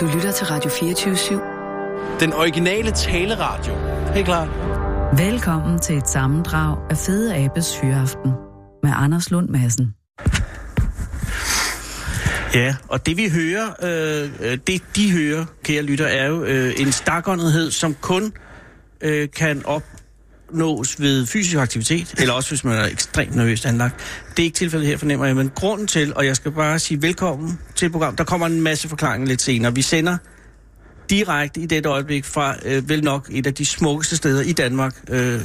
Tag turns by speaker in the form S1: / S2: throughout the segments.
S1: Du lytter til Radio 24
S2: Den originale taleradio. Helt klar.
S1: /7. Velkommen til et sammendrag af Fede Abes Hyreaften med Anders Lund Madsen.
S3: Ja, og det vi hører, øh, øh, det de hører, kære lytter, er jo øh, en stakåndethed, som kun øh, kan opnås ved fysisk aktivitet, eller også hvis man er ekstremt nervøst anlagt. Det er ikke tilfældet her, fornemmer jeg, men grunden til, og jeg skal bare sige velkommen til et program, der kommer en masse forklaringer lidt senere. Vi sender direkte i dette øjeblik fra øh, vel nok et af de smukkeste steder i Danmark, øh,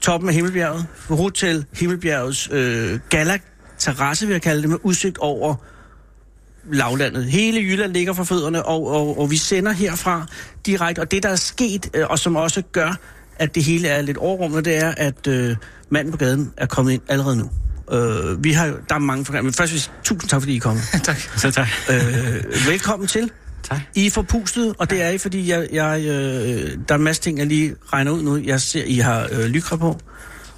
S3: toppen af Himmelbjerget, Hotel Himmelbjergets øh, galak terrasse, vil jeg kalde det, med udsigt over lavlandet. Hele Jylland ligger for fødderne, og, og, og vi sender herfra direkte. Og det, der er sket, øh, og som også gør, at det hele er lidt overrummende, det er, at øh, manden på gaden er kommet ind allerede nu. Øh, vi har, jo- der er mange forklaringer, men først vil jeg sige, tusind tak, fordi I er kommet.
S4: tak. Så tak.
S3: Øh, velkommen til.
S4: Tak.
S3: I er forpustet, og det er I, fordi jeg, jeg, øh, der er en masse ting, jeg lige regner ud nu. Jeg ser, I har øh, lykra på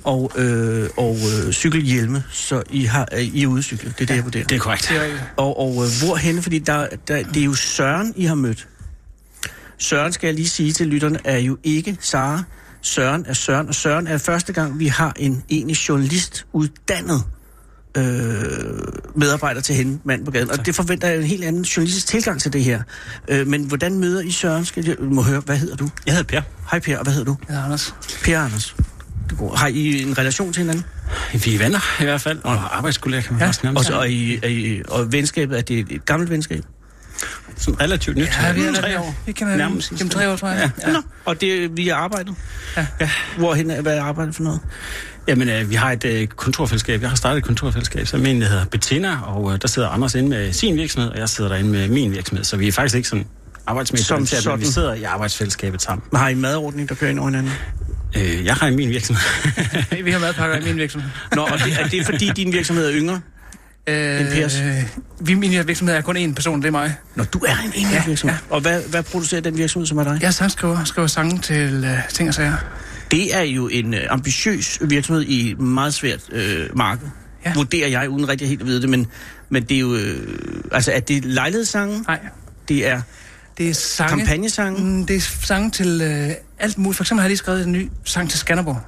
S3: og, øh, og øh, cykelhjelme, så I, har, øh, I er ude at cykle. Det er det, jeg vurderer.
S4: Det er korrekt.
S3: Og, og øh, hvorhenne? Fordi der, der, det er jo Søren, I har mødt. Søren, skal jeg lige sige til lytterne, er jo ikke Sara. Søren er Søren, og Søren er første gang, vi har en egentlig journalist uddannet øh, medarbejder til hende, mand på gaden. Og det forventer jeg en helt anden journalistisk tilgang til det her. Øh, men hvordan møder I Søren? Skal jeg må høre, hvad hedder du?
S4: Jeg hedder Per.
S3: Hej Per, og hvad hedder du?
S5: Jeg hedder Anders.
S3: Per Anders. Det er godt. Har I en relation til hinanden?
S4: Vi er venner i hvert fald, og arbejdskolleger kan man ja. også nærmest
S3: Og,
S4: sige.
S3: og, I, er I, og venskabet, er det et gammelt venskab?
S4: Sådan relativt nyt.
S5: Ja, vi er
S4: Tre
S5: der
S4: år.
S5: år. Vi kender
S4: Nærmest.
S5: Nærmest. Gennem tre år, tror jeg.
S4: Ja.
S3: Ja. Nå, og det er via arbejdet?
S5: Ja.
S3: Hvorhen, er- hvad er arbejdet for noget?
S4: Jamen, øh, vi har et øh, kontorfællesskab. Jeg har startet et kontorfællesskab, som egentlig hedder Bettina, og øh, der sidder Anders inde med sin virksomhed, og jeg sidder derinde med min virksomhed. Så vi er faktisk ikke sådan arbejdsmæssigt
S3: Som
S4: orienteret, men vi
S3: sådan.
S4: sidder i arbejdsfællesskabet sammen.
S3: Har I en madordning, der kører ind over hinanden?
S4: Øh, jeg har i min virksomhed.
S5: Ja. Vi har madpakker i min virksomhed.
S3: Nå, og det, er det fordi, din virksomhed er yngre?
S5: Øh,
S3: pers.
S5: vi, min virksomhed er kun én person, det er mig.
S3: Nå, du er en enig
S5: Ja,
S3: virksomhed. Ja. Og hvad, hvad producerer den virksomhed, som er dig?
S5: Jeg er sangskriver, skriver sange til øh, ting og sager.
S3: Det er jo en øh, ambitiøs virksomhed i et meget svært øh, marked. Ja.
S5: Ja.
S3: Vurderer jeg, uden rigtig helt at vide det, men, men det er jo... Øh, altså, er det lejlighedssange?
S5: Nej,
S3: Det er
S5: det er sange.
S3: kampagnesange?
S5: Mm, det er sange til øh, alt muligt. For eksempel har jeg lige skrevet en ny sang til Skanderborg.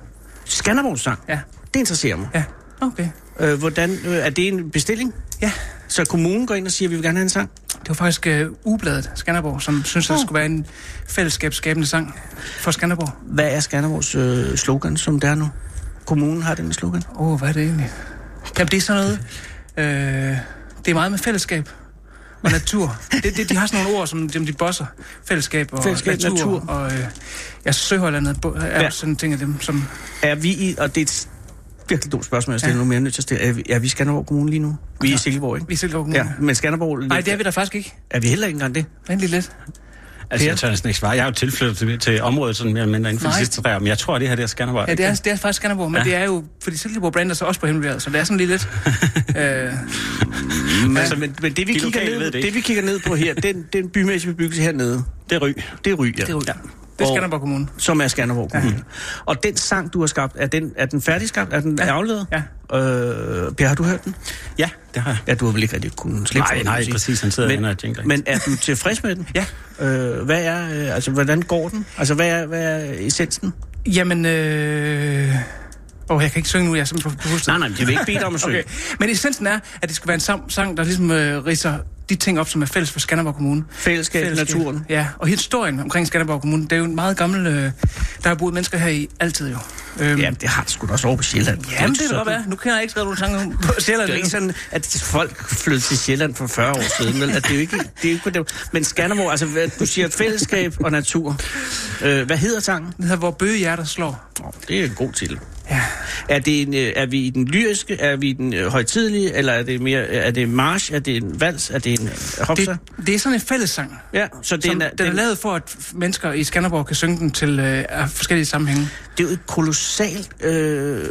S3: Skanderborg-sang?
S5: Ja.
S3: Det interesserer mig.
S5: Ja, okay.
S3: Øh, hvordan, øh, er det en bestilling?
S5: Ja,
S3: Så kommunen går ind og siger, at vi vil gerne have en sang?
S5: det var faktisk øh, Ugebladet Skanderborg, som synes, der
S3: Nå.
S5: skulle være en fællesskabsskabende sang for Skanderborg.
S3: Hvad er Skanderborgs øh, slogan, som det er nu? Kommunen har den slogan.
S5: Åh, oh, hvad er det egentlig? Jamen, det er sådan noget... Øh, det er meget med fællesskab og natur. det, det, de har sådan nogle ord, som som de bosser. Fællesskab og
S3: Fællesskab,
S5: fællesskab, natur.
S3: natur.
S5: natur. Og øh, ja, Søhøjlandet bo- er
S3: Ja.
S5: ja. sådan en ting af dem, som...
S3: Er vi i, og det er et s- virkelig dumt spørgsmål, jeg stiller
S5: Ja.
S3: ja. nu, men jeg er nødt til at stille. Er vi, er vi i Skanderborg Kommune lige nu? Vi er i Silkeborg, ikke?
S5: Vi selv går
S3: Ja, men Skanderborg...
S5: Nej, det er vi da faktisk ikke.
S3: er vi heller ikke engang det?
S5: Vent lige lidt.
S4: altså,
S3: Per?
S4: jeg tør næsten ikke svare. Jeg er jo tilflyttet til, til området sådan mere eller mindre inden for de
S5: Nej.
S4: sidste tre år, men jeg tror, at det her det er Skanderborg.
S5: Ja, det er, det er faktisk Skanderborg, men ja. det er jo... Fordi Silkeborg brander sig også på himmelværet, så det er sådan lige lidt... øh,
S3: Men, altså, men, men det, vi
S4: De
S3: kigger
S4: lokale
S3: ned,
S4: ved det
S3: det,
S4: ikke.
S3: vi kigger ned på her, den, den bymæssige bebyggelse hernede,
S4: det er Ry.
S3: det er Ry, ja.
S5: det er, jo-
S3: ja.
S5: det er
S3: Og-
S5: Skanderborg Kommune.
S3: Som er Skanderborg Kommune. Ja. Og den sang, du har skabt, er den, er den færdigskabt? Er den ja. afledet?
S5: Ja.
S3: Øh, per, har du hørt den?
S4: Ja, det har jeg.
S3: Ja, du har vel ikke rigtig kunnet slippe for
S4: Nej,
S3: den,
S4: nej,
S3: kan man sige.
S4: præcis. Han sidder
S3: Men-
S4: men, og jingler.
S3: Men er du tilfreds med den?
S4: Ja.
S3: Øh, hvad er, øh, altså, hvordan går den? Altså, hvad er, hvad er essensen?
S5: Jamen, øh... Åh, oh, jeg kan ikke synge nu, jeg er simpelthen på, på hustet.
S3: Nej, nej, men jeg vil ikke bede dig om at synge.
S5: Okay. Men essensen er, at det skal være en sam- sang, der ligesom øh, ridser de ting op, som er fælles for Skanderborg Kommune.
S3: Fællesskab, Fællesskab, naturen.
S5: Ja, og historien omkring Skanderborg Kommune, det er jo en meget gammel... Øh, der har boet mennesker her i altid jo. Øhm,
S3: Jamen, det har det sgu da også over på Sjælland. er jo
S5: jamen,
S3: ikke
S5: det kan
S3: sådan-
S5: godt være. Nu kan jeg ikke skrive nogle sange om på Sjælland.
S3: Det er jo ikke sådan, at folk flyttede til Sjælland for 40 år siden. Vel? At det er jo ikke, det er jo ikke på dem. Men Skanderborg, altså, hvad, du siger fællesskab og natur. Øh, hvad hedder sangen?
S5: Den hedder, hvor bøgehjerter slår.
S3: Oh, det er en god titel.
S5: Ja.
S3: Er, det en, øh, er vi i den lyriske, er vi i den øh, højtidlige, eller er det mere, er det en march, er det en vals, er det en øh, hopser?
S5: Det, det er sådan en fællessang,
S3: Ja, så det er,
S5: som,
S3: en,
S5: den, den er lavet for, at f- mennesker i Skanderborg kan synge den til øh, af forskellige sammenhænge.
S3: det er jo et kolossalt øh, øh,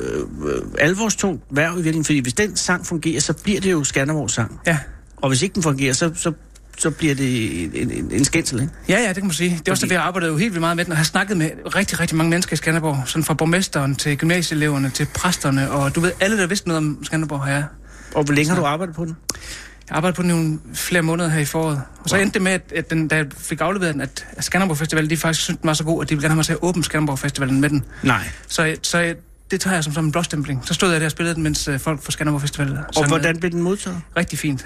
S3: alvorstungt værv i virkeligheden, fordi hvis den sang fungerer, så bliver det jo Skanderborgs sang.
S5: Ja.
S3: Og hvis ikke den fungerer, så, så, så bliver det en, en, en skændsel, ikke?
S5: Ja, ja, det kan man sige. Det er også derfor, jeg arbejder jo helt vildt meget med den, og har snakket med rigtig, rigtig mange mennesker i Skanderborg. Sådan fra borgmesteren til gymnasieeleverne til præsterne, og du ved, alle, der vidste noget om Skanderborg, har jeg.
S3: Og hvor længe har du arbejdet på den?
S5: Jeg Jeg arbejdede på den nogle flere måneder her i foråret. Og så endte det med, at, at den, da jeg fik afleveret den, at Skanderborg Festival, de faktisk syntes den var så god, at de ville gerne have mig til at åbne Skanderborg Festivalen med den.
S3: Nej.
S5: Så, jeg- så jeg- det tager jeg som, som en blåstempling. Så stod jeg der og spillede den, mens øh, folk fra Skanderborg Festival sang
S3: Og
S5: med.
S3: hvordan blev den modtaget?
S5: Rigtig fint.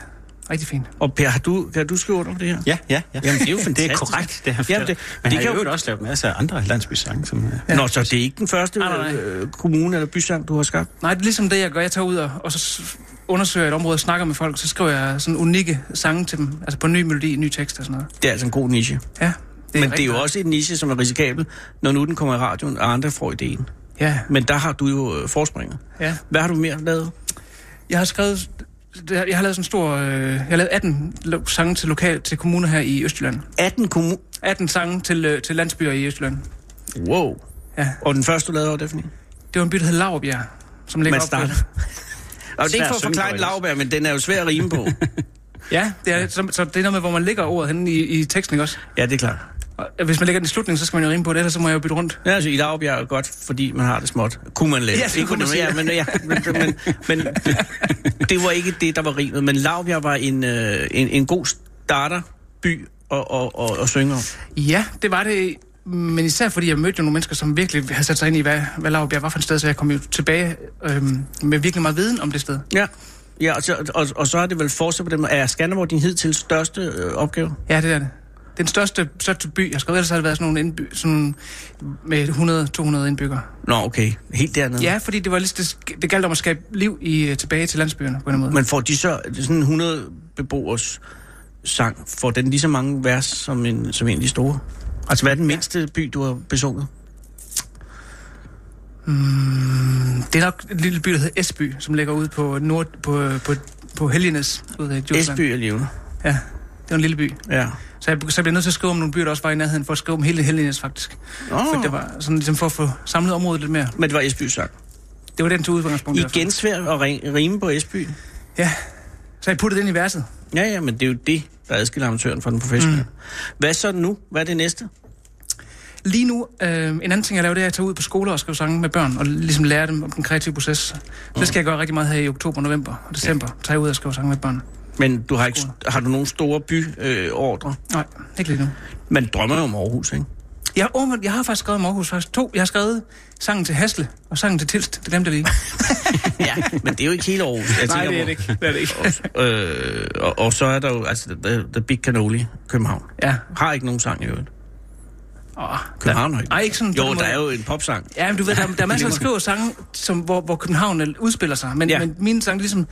S5: Rigtig fint.
S3: Og Per, har du, kan du skrive under på det her?
S4: Ja, ja, ja. Jamen, det er jo fantastisk. Det er korrekt, det han
S3: Jamen,
S4: Jamen,
S3: det-
S4: det, Men
S3: det
S4: det han
S3: kan
S4: har
S3: jo-
S4: jo også lavet masser af andre landsbysange, som... øh,
S3: Ja. Nå, så det er ikke den første
S5: Nej, nej, nej.
S3: øh, kommune eller bysang, du har skabt?
S5: Nej, det er ligesom det, jeg gør. Jeg tager ud og, og så s- undersøger jeg et område og snakker med folk, så skriver jeg sådan unikke sange til dem. Altså på ny melodi, ny tekst og sådan noget.
S3: Det er altså en god niche. Det
S5: Ja.
S3: Men det er
S5: rigtig
S3: jo
S5: godt.
S3: også en niche, som er risikabel, når nu den kommer i radioen, og andre får ideen.
S5: Ja,
S3: Men der har du jo øh, forspringet.
S5: ja.
S3: Hvad har du mere lavet?
S5: Jeg har skrevet... Jeg har lavet sådan en stor... Øh, jeg har lavet 18 lo- sange til, lokal, til kommuner her i Østjylland.
S3: 18 kommuner.
S5: 18 sange til, øh, til landsbyer i Østjylland.
S3: Wow.
S5: Ja.
S3: Og den første, du lavede, var det for en?
S5: Det var en by, der hed Lauerbjerg, som ligger
S3: Man
S5: op
S3: starter. Og det er ikke for at forklare Lauberg, men den er jo svær at rime på.
S5: Ja, det er, så, så det er noget med, hvor man lægger ordet henne i, i teksten, ikke også?
S3: ja, det er klart.
S5: Og hvis man lægger den i slutningen, så skal man jo rime på det, ellers så må jeg jo bytte rundt.
S3: Ja, altså, i Lauberg er godt, fordi man har det småt. Kunne man lære.
S5: Ja, det
S3: Ikke
S5: kunne man
S3: ja,
S5: sige.
S3: men, ja, men, men, men det var ikke det, der var rimet. Men Lauberg var en, øh, en, en god starterby at, at, at, at synge om.
S5: Ja, det var det. Men især fordi jeg mødte jo nogle mennesker, som virkelig havde sat sig ind i, hvad, hvad Lauerbjerg var for et sted, så jeg kom jo tilbage øhm, med virkelig meget viden om det sted.
S3: Ja. Ja, og så, og, og så er det vel fortsat på dem. Er Skanderborg din hidtil største øh, opgave?
S5: Ja, det er det. Den største, største by, jeg skal ellers har det været sådan nogle indby, sådan med 100-200 indbyggere.
S3: Nå, okay. Helt dernede.
S5: Ja, fordi det var lige, det, det galt om at skabe liv i, øh, tilbage til landsbyerne på en eller anden måde.
S3: Men får de så øh, sådan 100 beboers sang, får den lige så mange vers som en, som en af de store? Altså, hvad er den mindste by, du har besunget?
S5: Mm, Det er nok en lille by, der hedder Esby, som ligger ude på, nord, på, øh, på, på Helgenes. Ude i Djursland.
S3: Esby er levende.
S5: Ja, det var en lille by.
S3: Ja.
S5: Så jeg, så jeg blev nødt til at skrive om nogle byer, der også var i nærheden, for at skrive om hele Helgenes faktisk.
S3: Oh.
S5: For det var sådan ligesom for at få samlet området lidt mere.
S3: Men det var Esby sang.
S5: Det var den til udgangspunkt. i hvert fald.
S3: Igen svært at ri- rime på Esby.
S5: Ja. Så jeg puttede det ind i verset.
S3: Ja, ja, men det er jo det, der adskiller amatøren fra den professionelle. Mm. Hvad så nu? Hvad er det næste?
S5: Lige nu, øh, en anden ting jeg laver, det er at tage ud på skoler og skrive sange med børn, og ligesom lære dem om den kreative proces. Så det skal jeg gøre rigtig meget her i oktober, november og december. Ja. Tage ud og skrive sange med børn.
S3: Men du har ikke har du nogen store byordre? Øh,
S5: Nej, ikke lige nu.
S3: Man drømmer jo om Aarhus, ikke?
S5: Jeg, over, jeg har faktisk skrevet om Aarhus, faktisk to. Jeg har skrevet sangen til Hasle og sangen til Tilst. Det glemte jeg lige.
S3: ja, men det er jo ikke hele Aarhus. Jeg tænker på.
S5: ikke. Det er det ikke.
S3: Øh, og, og så er der jo, altså, The, the Big Cannoli, København.
S5: Ja.
S3: Har ikke nogen sang i øvrigt.
S5: Åh,
S3: København har ikke.
S5: Ej, ikke sådan på
S3: jo,
S5: den
S3: der
S5: måde.
S3: er jo en popsang.
S5: Ja, men du ved, der, der er masser, der skriver sange, som, hvor, hvor København er- udspiller sig. Men,
S3: Ja.
S5: ja. men mine sange, ligesom,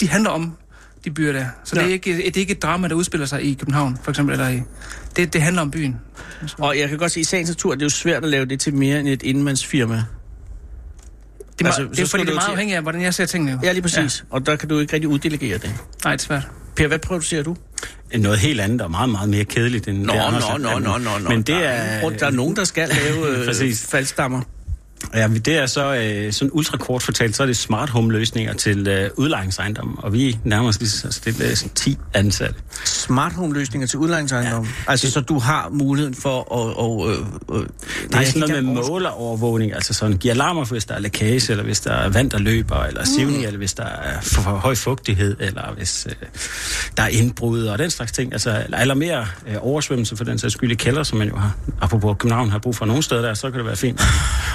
S5: de handler om de byer der. Så ja. det, er ikke, det er ikke et drama, der udspiller sig i København, for eksempel. Eller i, det, det handler om byen.
S3: Og jeg kan godt se, i sagens natur, det er jo svært at lave det til mere end et indmandsfirma.
S5: Det er,
S3: Altså,
S5: altså,
S3: så
S5: det er jo
S3: skulle
S5: fordi,
S3: det
S5: det
S3: jo
S5: er meget
S3: til-
S5: afhængigt af, hvordan jeg ser tingene. Jo.
S3: Ja, lige præcis. Ja. Og der kan du ikke rigtig uddelegere det.
S5: Nej, det er svært.
S3: Per, hvad producerer du?
S4: øh, Noget helt andet og meget, meget mere kedeligt end det, Anders har- Men
S3: der
S4: det er...
S3: Rundt, der er nogen, der skal lave øh,
S4: Præcis.
S3: faldstammer.
S4: Ja, men det er så øh, sådan ultrakort fortalt, så er det smart home løsninger til øh, udlejningsejendommen, og vi nærmer os lige så stille øh, sådan 10 ansatte.
S3: Smart home-løsninger til udlejningsejendommen. Ja. Altså, så du har muligheden for at... Og, øh, øh,
S4: Det er
S3: jeg kan
S4: sådan
S3: ikke
S4: noget med
S3: overskue-
S4: målerovervågning, altså sådan give alarmer, hvis der er lækage, eller hvis der er vand, der løber, eller sivning, mm. eller hvis der er for, for høj fugtighed, eller hvis øh, der er indbrud og den slags ting. Altså, eller- eller mere øh, oversvømmelse for den sags skyld i kælder, som man jo har, apropos København, har brug for nogle steder der, så kan det være fint.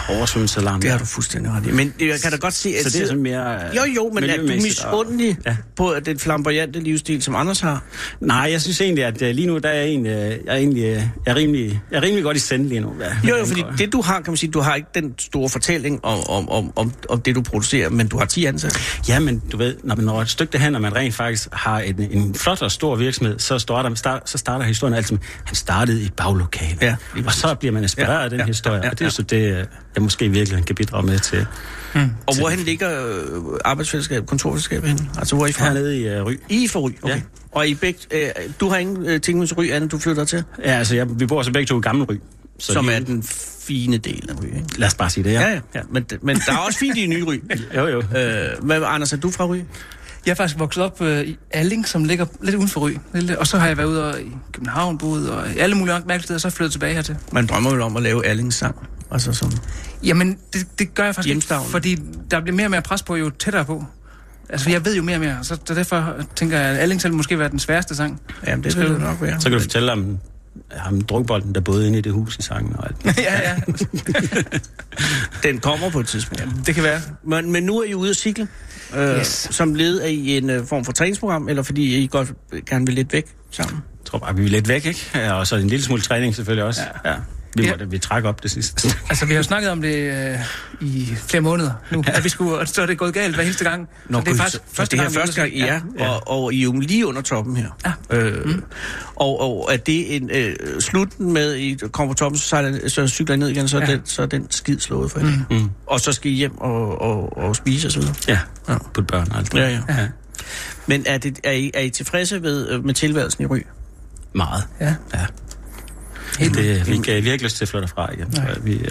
S4: Oversvømmelsealarm.
S3: Det har du fuldstændig ret i. Men jeg kan da godt se, at...
S4: Så det er sådan mere... øh,
S3: Jo, jo, men er du
S4: miljømæssigt og-
S3: misundelig ja.
S4: Ja.
S3: på den flamboyante livsstil, som Anders har?
S4: Nej, jeg synes egentlig, at øh, lige nu, der er jeg egentlig, øh, jeg er egentlig øh, jeg er rimelig, jeg er rimelig godt i send lige nu. Hvad,
S3: Jo,
S4: hvad
S3: jo, fordi
S4: angår.
S3: det du har, kan man sige, du har ikke den store fortælling om, om, om, om, om det, du producerer, men du har 10 ansatte.
S4: Ja, men du ved, når man når et stykke derhen, og man rent faktisk har en, en flot og stor virksomhed, så starter, start, så starter historien altid med, han startede i et baglokale.
S3: Ja, lige
S4: og så bliver man inspireret
S3: Ja,
S4: af den
S3: ja,
S4: historie,
S3: ja, ja,
S4: og det
S3: ja.
S4: er så det, øh, jeg måske virkelig kan bidrage med til
S3: Og hvorhen ligger øh, arbejdsfællesskabet, kontorfællesskabet henne? Altså, hvor er I fra?
S4: hernede i øh, Ry.
S3: I er fra Ry, okay. Ja.
S4: Ja.
S3: Og I begge, øh, du har ingen øh, ting med Ry, andet du flytter til,
S4: Ja, altså, jeg, vi bor så begge to i Gammel Ry. Så
S3: som
S4: de-
S3: er den fine del af Ry, ikke?
S4: Lad os bare sige det, ja.
S3: Ja, ja, ja. Men, men der er også fint i nye Ry.
S4: Jo, jo.
S3: Øh, hvad, Anders, er du fra Ry?
S5: Jeg er faktisk vokset op øh, i Alling, som ligger lidt uden for Ry. Lidt- Og så har jeg været ude og i København boet, og i alle mulige mærkelige steder, og så er jeg flyttet tilbage hertil.
S3: Man drømmer jo om at lave Erlings sang. Altså sådan.
S5: Jamen, det, det gør jeg faktisk ikke,
S3: Hjemstavn.
S5: fordi der bliver mere og mere pres på, jo tættere på. Altså, jeg ved jo mere og mere, så så derfor tænker jeg, at Alling selv måske være den sværeste sang.
S3: Jamen, det skal det nok være.
S4: Så kan du fortælle om ham drukbolden, der både inde i det hus i sangen og alt.
S5: ja, ja,
S3: Den kommer på et tidspunkt.
S5: det kan være.
S3: Men, men nu er I ude at cikle, øh, yes.
S5: Yes.
S3: som led af i en øh, form for træningsprogram, eller fordi I godt øh, gerne vil lidt væk sammen.
S4: Jeg tror bare, vi er lidt væk, ikke? Ja, og så en lille smule træning selvfølgelig også. Ja. ja. Vi,
S5: Ja.
S4: måtte, vi trækker op det sidste.
S5: Altså, vi har jo snakket om det øh, i flere måneder nu, at vi skulle, og så er det gået galt hver eneste gang.
S3: Nå,
S5: og det er faktisk
S3: så, første det her
S5: vi
S3: første gang, I
S5: undersøger-
S3: er, ja. og, og I er jo lige under toppen her. Ja. Øh, mm. og, og er det en øh, slutten med, I kommer på toppen, så, sejler, så cykler I ned igen, så, ja.
S5: Ja.
S3: den, så er den skid slået for mm. Mm. Og så skal I hjem og, og, og spise osv.
S4: ja.
S3: Ja.
S4: ja. Put børn og alt. det.
S3: Ja, ja. ja. Men er, det, er, I, er I tilfredse ved, øh, med tilværelsen i Ry?
S4: Meget.
S5: Ja.
S4: ja. Det, øh, vi, kan, vi har ikke lyst til at flytte fra igen, tror jeg. Vi, øh,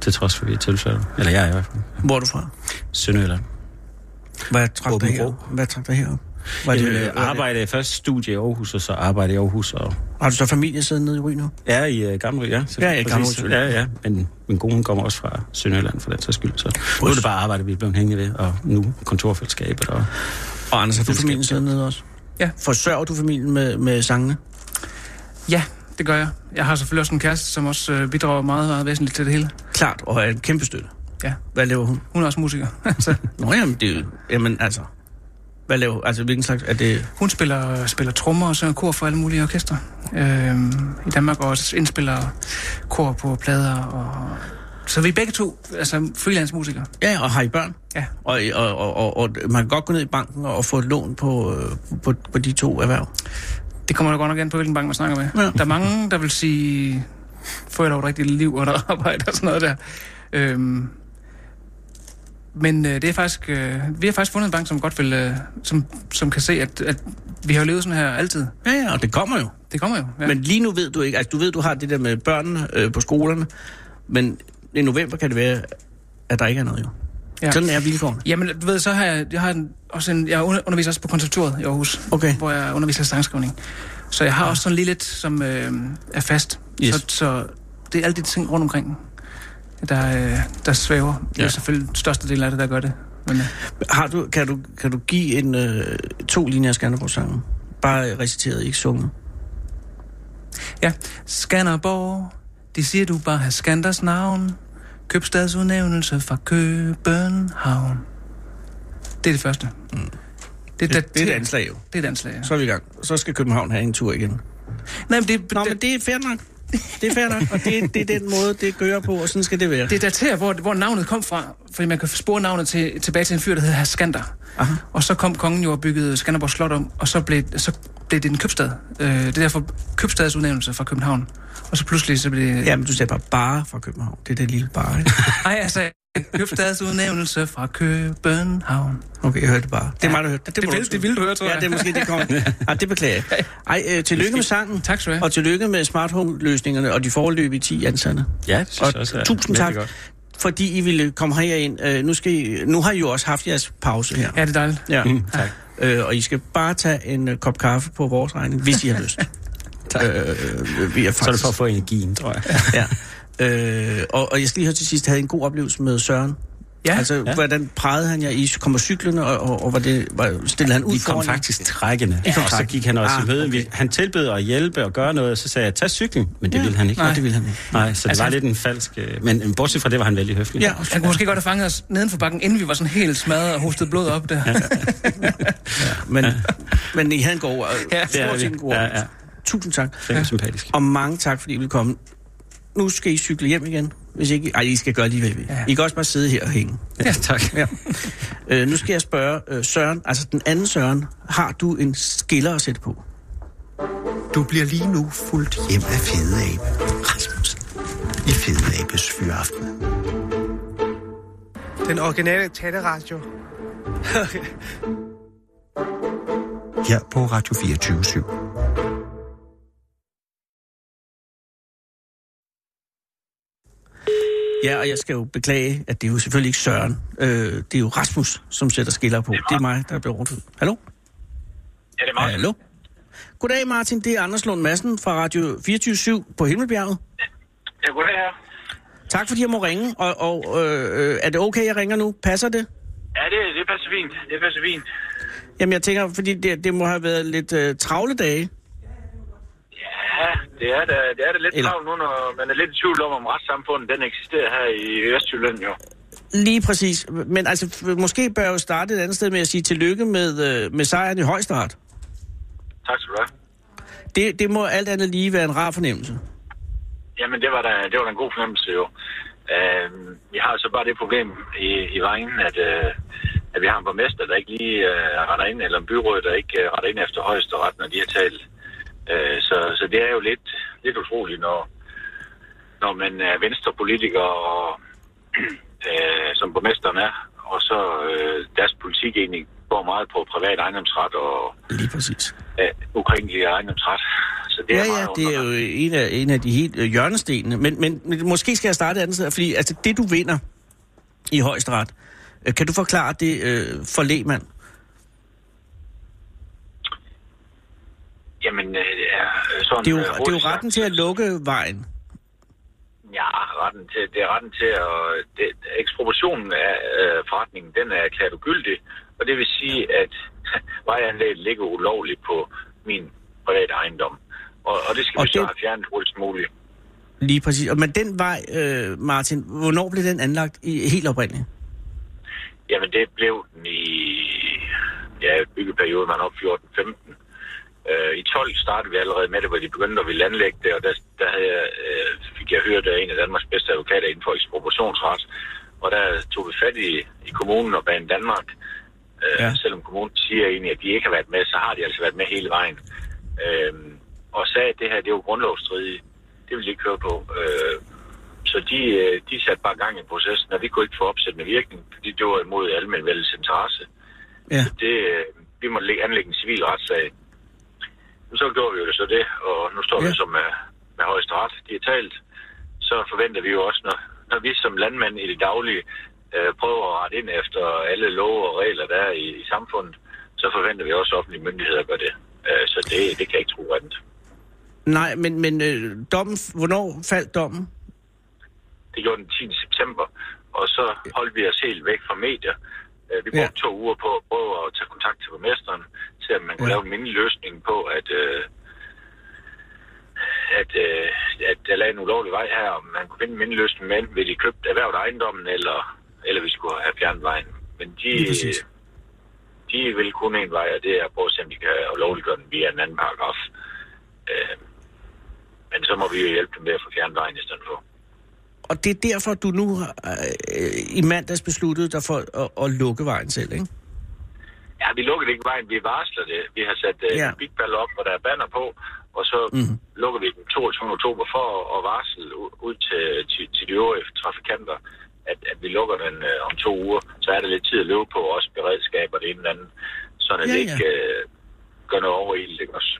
S4: til trods for, at vi er tilflyttet. Eller jeg i hvert fald.
S3: Hvor er du fra?
S4: Sønderjylland.
S3: Hvad trak dig
S4: Åbenrå.
S3: herop? Hvad trak dig herop? Var
S4: Jamen,
S3: det,
S4: øh,
S3: var det-
S4: arbejde først studie i Aarhus, og så arbejde i Aarhus. Og
S3: Har du så familie siddende nede i Ry nu?
S4: er i øh, Gamle Ry, ja. Så,
S3: Ja, ja, i Gamle Ry,
S4: præcis. Ja, ja. Men min kone hun kommer også fra Sønderjylland, for den sags skyld. Så nu er det bare arbejde, vi er blevet hængende ved, og nu kontorfællesskabet. Og,
S3: Og Anders, har du
S4: Fællesskab.
S3: familien siddende nede også?
S5: Ja.
S3: Forsørger du familien med, med sangene?
S5: Ja, det gør jeg. Jeg har selvfølgelig også en kæreste, som også øh, bidrager meget, meget væsentligt til det hele.
S3: Klart, og er en kæmpe støtte.
S5: Ja.
S3: Hvad laver hun?
S5: Hun er også musiker. så
S3: Nå, jamen, det er jo... Jamen, altså... Hvad laver... Altså, hvilken slags... Er det...
S5: hun spiller, spiller trommer og synger kor for alle mulige orkestre øh, i Danmark, og også indspiller kor på plader. Og... Så vi er begge to altså freelance musikere.
S3: Ja, og har I børn?
S5: Ja.
S3: Og, og, og, og, og man kan godt gå ned i banken og få et lån på, øh, på, på de to erhverv.
S5: Det kommer da godt nok an på, hvilken bank man snakker med.
S3: Ja.
S5: Ja. Der er mange, der vil sige, få et rigtigt liv under arbejde og sådan noget der. Øhm, men øh, det er faktisk, øh, vi har faktisk fundet en bank, som godt vil, øh, som, som kan se, at, at vi har jo levet sådan her altid.
S3: Ja, ja, og det kommer jo.
S5: Det kommer jo.
S3: Ja. Men lige nu ved du ikke... Altså, du ved, du har det der med børnene øh, på skolerne, men i november kan det være, at der ikke er noget, jo. Ja.
S5: Ja.
S3: Sådan er vilkårene.
S5: Jamen, du ved, så har jeg, jeg har en, også en, jeg under- underviser også på konservatoriet i Aarhus,
S3: Okay.
S5: hvor jeg underviser sangskrivning. Så jeg har også sådan lige lidt, som øh, er fast.
S3: Yes.
S5: Så, så det er alle de ting rundt omkring, der, øh, der svæver. Ja. Det
S3: Ja.
S5: er selvfølgelig den største del af det, der gør det. Men, øh,
S3: Har du, kan, du, kan du give en øh, to linjer af Skanderborg-sangen? Bare reciteret, ikke sunget.
S5: ja, Skanderborg, de siger, du bare har Skanders navn. Købstadsudnævnelse fra København. Det er det første. Mm. Det, er
S3: Det, det er et
S5: dateret-
S3: anslag, jo.
S5: Det er et anslag, ja.
S3: Så er vi i gang. Så skal København have en tur igen.
S5: Nej, men det,
S3: Nå,
S5: det,
S3: men det er fair nok. Det er fair nok, og det, det er den måde, det kører på, og sådan skal det være.
S5: Det daterer, hvor, hvor navnet kom fra, fordi man kan spore navnet til, tilbage til en fyr, der hed Skander.
S3: Aha.
S5: Og så kom kongen jo og byggede Skanderborg Slot om, og så blev, så blev det en købstad. Øh, det er derfor købstadsudnævnelse fra København. Og så pludselig så blev det...
S3: Ja, men du sagde bare bare fra København. Det er det lille bare, ikke?
S5: Ej, altså, købstadsudnævnelse fra København.
S3: Okay, jeg hørte det bare. Det er mig, der hørte det.
S5: Det
S3: må
S5: vil-
S3: du-
S5: det ville du høre, tror
S3: Ja,
S5: jeg.
S3: det er måske det kommer. Ej, det beklager jeg. Ej, øh, tillykke med sangen.
S5: Tak skal du have.
S3: Og tillykke med smart home-løsningerne og de foreløbige 10 ansatte.
S4: ja, det synes
S3: Og
S4: jeg også er
S3: tusind
S4: virkelig
S3: tak,
S4: godt.
S3: fordi I ville komme herind. Øh, nu, skal I, nu har I jo også haft jeres pause her.
S5: Ja, det er dejligt.
S3: Ja.
S4: Mm, tak.
S3: Øh, og I skal bare tage en øh, kop kaffe på vores regning, hvis I har lyst. tak. Øh, vi er faktisk...
S4: Så er det for at få energien, tror jeg.
S3: ja. Øh, og, og jeg skal lige høre til sidst, havde I en god oplevelse med Søren?
S5: Ja,
S3: altså, ja. hvordan prejede han jer? I kommer cyklerne, og, og, og var det, var, stillede han ud
S4: Vi kom
S3: foran jer?
S4: faktisk trækkende, og så
S3: trækkende.
S4: gik han også
S3: Ah,
S4: ah, ved. Okay. Han tilbød at hjælpe og gøre noget, og så sagde jeg, tag cyklen, men det ville han ikke.
S3: Nej, det ville han ikke.
S4: Nej, så det
S5: Altså,
S4: var
S5: han-
S4: lidt en falsk... Øh, men øh, bortset fra det var han vældig høflig.
S3: Ja,
S5: han kunne måske godt have fanget os neden for bakken, inden vi var sådan helt smadret og hostede blod op der.
S3: men, men I havde en god ja,
S4: det er
S3: stort set en
S4: vi.
S3: god
S4: Ja,
S3: oplevelse. Tusind tak.
S4: Det var sympatisk.
S3: Og mange tak, fordi I ville komme. Nu skal I cykle hjem igen. Hvis ikke, ej, I skal gøre lige hvad I vil. Ja.
S5: Ja.
S3: I kan også bare sidde her og hænge.
S4: Ja, tak.
S3: Ja. øh, nu skal jeg spørge øh, Søren, altså den anden Søren, har du en skiller at sætte på?
S6: Du bliver lige nu fuldt hjem af Fede Abe. Rasmussen. I Fede Abes fyraften.
S7: Den originale taleradio.
S6: Her på Radio 24 7.
S3: Ja, og jeg skal jo beklage, at det er jo selvfølgelig ikke Søren. Øh, det er jo Rasmus, som sætter skiller på. Det er mig, der bliver rundt. Hallo?
S8: Ja, det er Martin.
S3: Hallo? Goddag, Martin. Det er Anders Lund Madsen fra Radio 24 på Himmelbjerget.
S8: Ja, goddag her.
S3: Tak fordi jeg må ringe, og, og øh, øh, er det okay, jeg ringer nu? Passer det?
S8: Ja, det, det passer fint. Det passer fint.
S3: Jamen, jeg tænker, fordi det, det må have været lidt øh, travle dage.
S8: Ja, det er da, det er da lidt
S3: Eller-
S8: travlt nu, når man er lidt i tvivl om, om retssamfundet den eksisterer her i Østjylland jo.
S3: Lige præcis. Men altså, f- måske bør jeg jo starte et andet sted med at sige tillykke med, øh, med sejren i højstart.
S8: Tak skal du have.
S3: Det, det må alt andet lige være en rar fornemmelse.
S8: Jamen, det var da, det var da en god fornemmelse jo. Øh, vi har så bare det problem i, i Vejen, at, øh, at vi har en borgmester, der ikke lige øh, retter ind, eller en byråd, der ikke øh, retter ind efter højesteret, når de har talt. Øh, så, så det er jo lidt, lidt utroligt, når, når man er venstrepolitiker, og, øh, som borgmesteren er, og så øh, deres politik egentlig går meget på privat ejendomsret og
S3: Lige præcis.
S8: øh, ukrænkelig ejendomsret. Så det
S3: Ja,
S8: er meget
S3: ja, det er jo
S8: underligt.
S3: en af, en af de helt øh, hjørnestenene. Men, men, men måske skal jeg starte et andet sted, fordi altså, det du vinder i højesteret, øh, kan du forklare det øh, for lægmand?
S8: Jamen, øh, ja, sådan,
S3: Det er, jo,
S8: øh,
S3: det er jo
S8: hurtigt
S3: retten
S8: sagt.
S3: til at lukke vejen.
S8: Ja, retten til, det er retten til at... Det, ekspropriationen af øh, forretningen, den er erklæret ugyldig, og det vil sige, at vejanlægget ligger ulovligt på min private ejendom. Og, og det skal
S3: Og
S8: og vi det... så
S3: det-
S8: have fjernet hurtigst muligt.
S3: Lige præcis. Og, men den vej, øh, Martin, hvornår blev den anlagt i, helt oprindeligt?
S8: Jamen, det blev den i ja, byggeperioden, man op 14-15. Øh, I 12 startede vi allerede med det, hvor de begyndte at ville anlægge det, og der, der havde jeg, øh, fik jeg hørt af en af Danmarks bedste advokater inden for ekspropriationsret. Og der tog vi fat i, i kommunen og banen Danmark. Øh,
S3: Ja.
S8: ja. Selvom kommunen siger egentlig, at de ikke har været med, så har de altså været med hele vejen. Øh, og sagde, at det her, det er jo grundlovsstridigt. Det vil de ikke køre på. Øh, så de, øh, de satte bare gang i processen, og vi kunne ikke få opsættende virkning, fordi det var imod almenvældets interesse.
S3: Ja.
S8: Det, øh, vi måtte lægge- anlægge en civil retssag. Så gjorde vi jo så det, og nu står ja. vi
S3: Ja.
S8: som med, med højesteret. De har talt. Så forventer vi jo også, når, når vi som landmænd i det daglige øh, prøver at rette ind efter alle love og regler, der er i, i samfundet, så forventer vi også at offentlige myndigheder gør det. Øh, så det, det kan jeg ikke tro andet.
S3: Nej, men, men øh, dommen, hvornår faldt dommen?
S8: Det gjorde den 10. september, og så holdt vi os helt væk fra medier. Øh, Vi brugte ja. to uger på at prøve at tage kontakt til borgmesteren, til at man kunne
S3: Ja.
S8: ja. lave en mindre løsning på, at, øh, at, øh, at der lagde en ulovlig vej her, om man kunne finde en mindre løsning med, enten ved de købte erhvervet ejendommen, eller, eller vi skulle have fjernet vejen. Men de,
S3: Lige præcis.
S8: de vil kun en vej, og det er at prøve at se, om de kan lovliggøre den via en anden paragraf. Øh, men så må vi jo hjælpe dem med at få fjernet vejen i stedet for.
S3: Og det er derfor, du nu øh, i mandags besluttede dig for at, at lukke vejen selv, ikke?
S8: Ja, vi lukker det ikke vejen, vi varsler det. Vi har sat uh,
S3: Ja. Mhm.
S8: ja. Big Ball op, hvor der er banner på, og så mm. lukker vi den 22. oktober for at, at varsle u- ud til, til, til de øvrige trafikanter, at, at vi lukker den uh, om to uger. Så er der lidt tid at løbe på, også beredskab og det ene eller andet, sådan at
S3: Ja,
S8: ja, det
S3: ja.
S8: ikke uh, gør noget over i det også.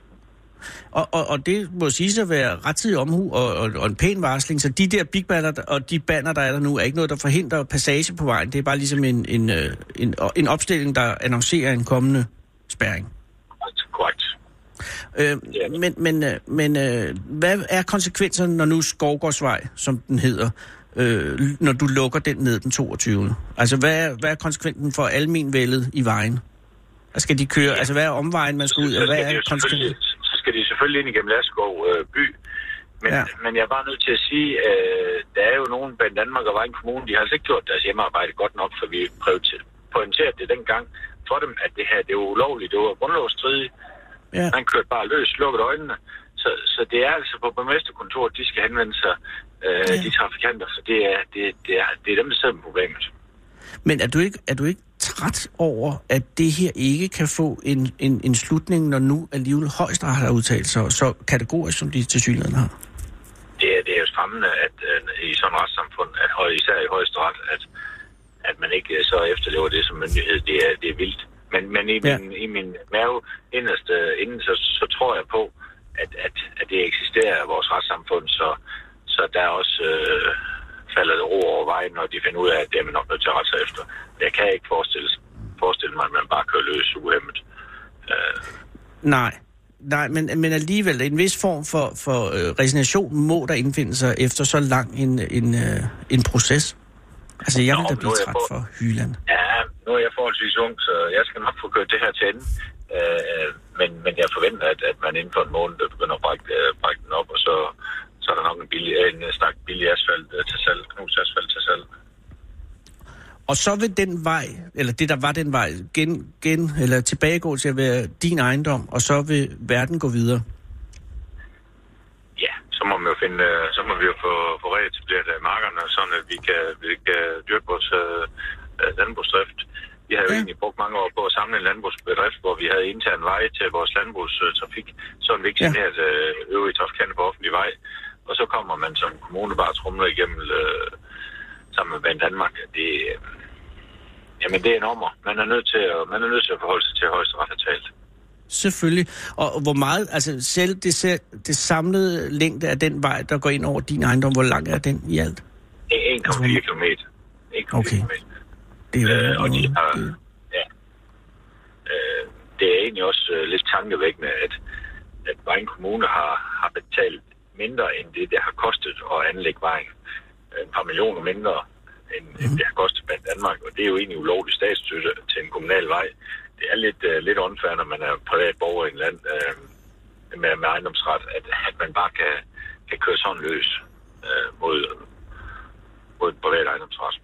S3: Og, og, og det må siges at være rettidig omhu og, og, og en pæn varsling, så de der big banner der- og de banner, der er der nu, er ikke noget, der forhindrer passage på vejen. Det er bare ligesom en, en, øh, en, og- en opstilling, der annoncerer en kommende spærring.
S8: Korrekt.
S3: Øh,
S8: Ja.
S3: men men, øh, men øh, hvad er konsekvenserne, når nu Skovgårdsvej, som den hedder, øh, l- når du lukker den ned den 22. Altså, hvad er, hvad er konsekvensen for almenvældet i vejen? Og Skal de køre, ja. altså hvad er omvejen, man skal ud, og
S8: så
S3: hvad
S8: skal de
S3: er
S8: jo selvfølgelig-
S3: konsekvensen?
S8: Så skal de selvfølgelig ind igennem Laskov øh, by. Men,
S3: Ja.
S8: ja. men jeg er bare nødt til at sige, øh, der er jo nogen blandt Danmark og Vejen Kommune, de har altså ikke gjort deres hjemmearbejde godt nok, for vi priorite- pointerede det dengang for dem, at det her det var ulovligt, det var grundlovsstridigt.
S3: Ja.
S8: Han kørte bare løs, lukkede øjnene. Så, så det er altså på borgmesterkontoret, de skal henvende sig,
S3: Ja.
S8: øh, ja. de trafikanter, for det er, det, det, er, det er dem, der sidder med problemet.
S3: Men er du ikke, er du ikke træt over, at det her ikke kan få en, en, en slutning, når nu alligevel højstret har udtalt sig, så kategorisk som de til synligheden har?
S8: det er, det er jo skræmmende, at øh, i sådan et retssamfund, at, og især i højesteret, at, at man ikke øh, så efterlever det som myndighed, det er, det er vildt. Men, men i,
S3: Ja.
S8: min, i min mave inderst øh, inden, så, så tror jeg på, at, at, at det eksisterer i vores retssamfund, så, så der også øh, falder det ro over vejen, når de finder ud af, at det er man nok nødt til at rette sig efter. Jeg kan ikke forestille, forestille mig, at man bare kører løs uhemmet. Øh,
S3: Nej. Nej, men, men alligevel, en vis form for, for øh, resignation må der indfinde sig efter så lang en, en, øh, en proces. Altså, jeg
S8: Nå,
S3: vil da
S8: men nu
S3: blive
S8: er jeg
S3: træt
S8: på-
S3: for Hyland.
S8: Ja, nu er jeg forholdsvis ung, så jeg skal nok få kørt det her til ende. Øh, men, men jeg forventer, at, at man inden for en måned begynder at brække, øh, brække den op, og så, så er der nok en, billig, en øh, stak billig asfalt øh, til salg, knus asfalt til salg.
S3: Og så vil den vej, eller det der var den vej, gen, gen, eller tilbagegå til at være din ejendom, og så vil verden gå videre.
S8: Ja, så må, man jo finde, øh, så må vi jo få, få reetableret øh, markerne, sådan at vi kan, vi kan dyrke vores øh, øh, landbrugsdrift. Vi har jo
S3: Ja.
S8: ja. egentlig brugt mange år på at samle en landbrugsbedrift, hvor vi havde intern vej til vores landbrugstrafik, sådan vi ikke
S3: Ja.
S8: generede øh, øvrige trafikanter på offentlig vej. Og så kommer man som kommune bare trumler igennem øh, sammen med Band Danmark. Det, øh, jamen, det er normer. Man er nødt til at, man er nødt til at forholde sig til at højesteret har talt.
S3: Selvfølgelig. Og hvor meget, altså selv det, se- det samlede længde af den vej, der går ind over din ejendom, hvor lang er den i alt?
S8: 1,4 km. 1,4
S3: Okay.
S8: km.
S3: Det er
S8: Øh, og de har,
S3: det-
S8: ja. Øh, det er egentlig også øh, lidt tankevækkende, at, at Vejen Kommune har, har betalt mindre end det, det har kostet at anlægge vejen. Et par millioner mindre, end, mm. end det har kostet blandt Danmark. Og det er jo egentlig ulovlig statsstøtte til en kommunal vej. Det er lidt, øh, lidt unfair, når man er privat borger i en land øh, med, med ejendomsret, at, at man bare kan, kan køre sådan løs øh, mod, mod en privat ejendomsret.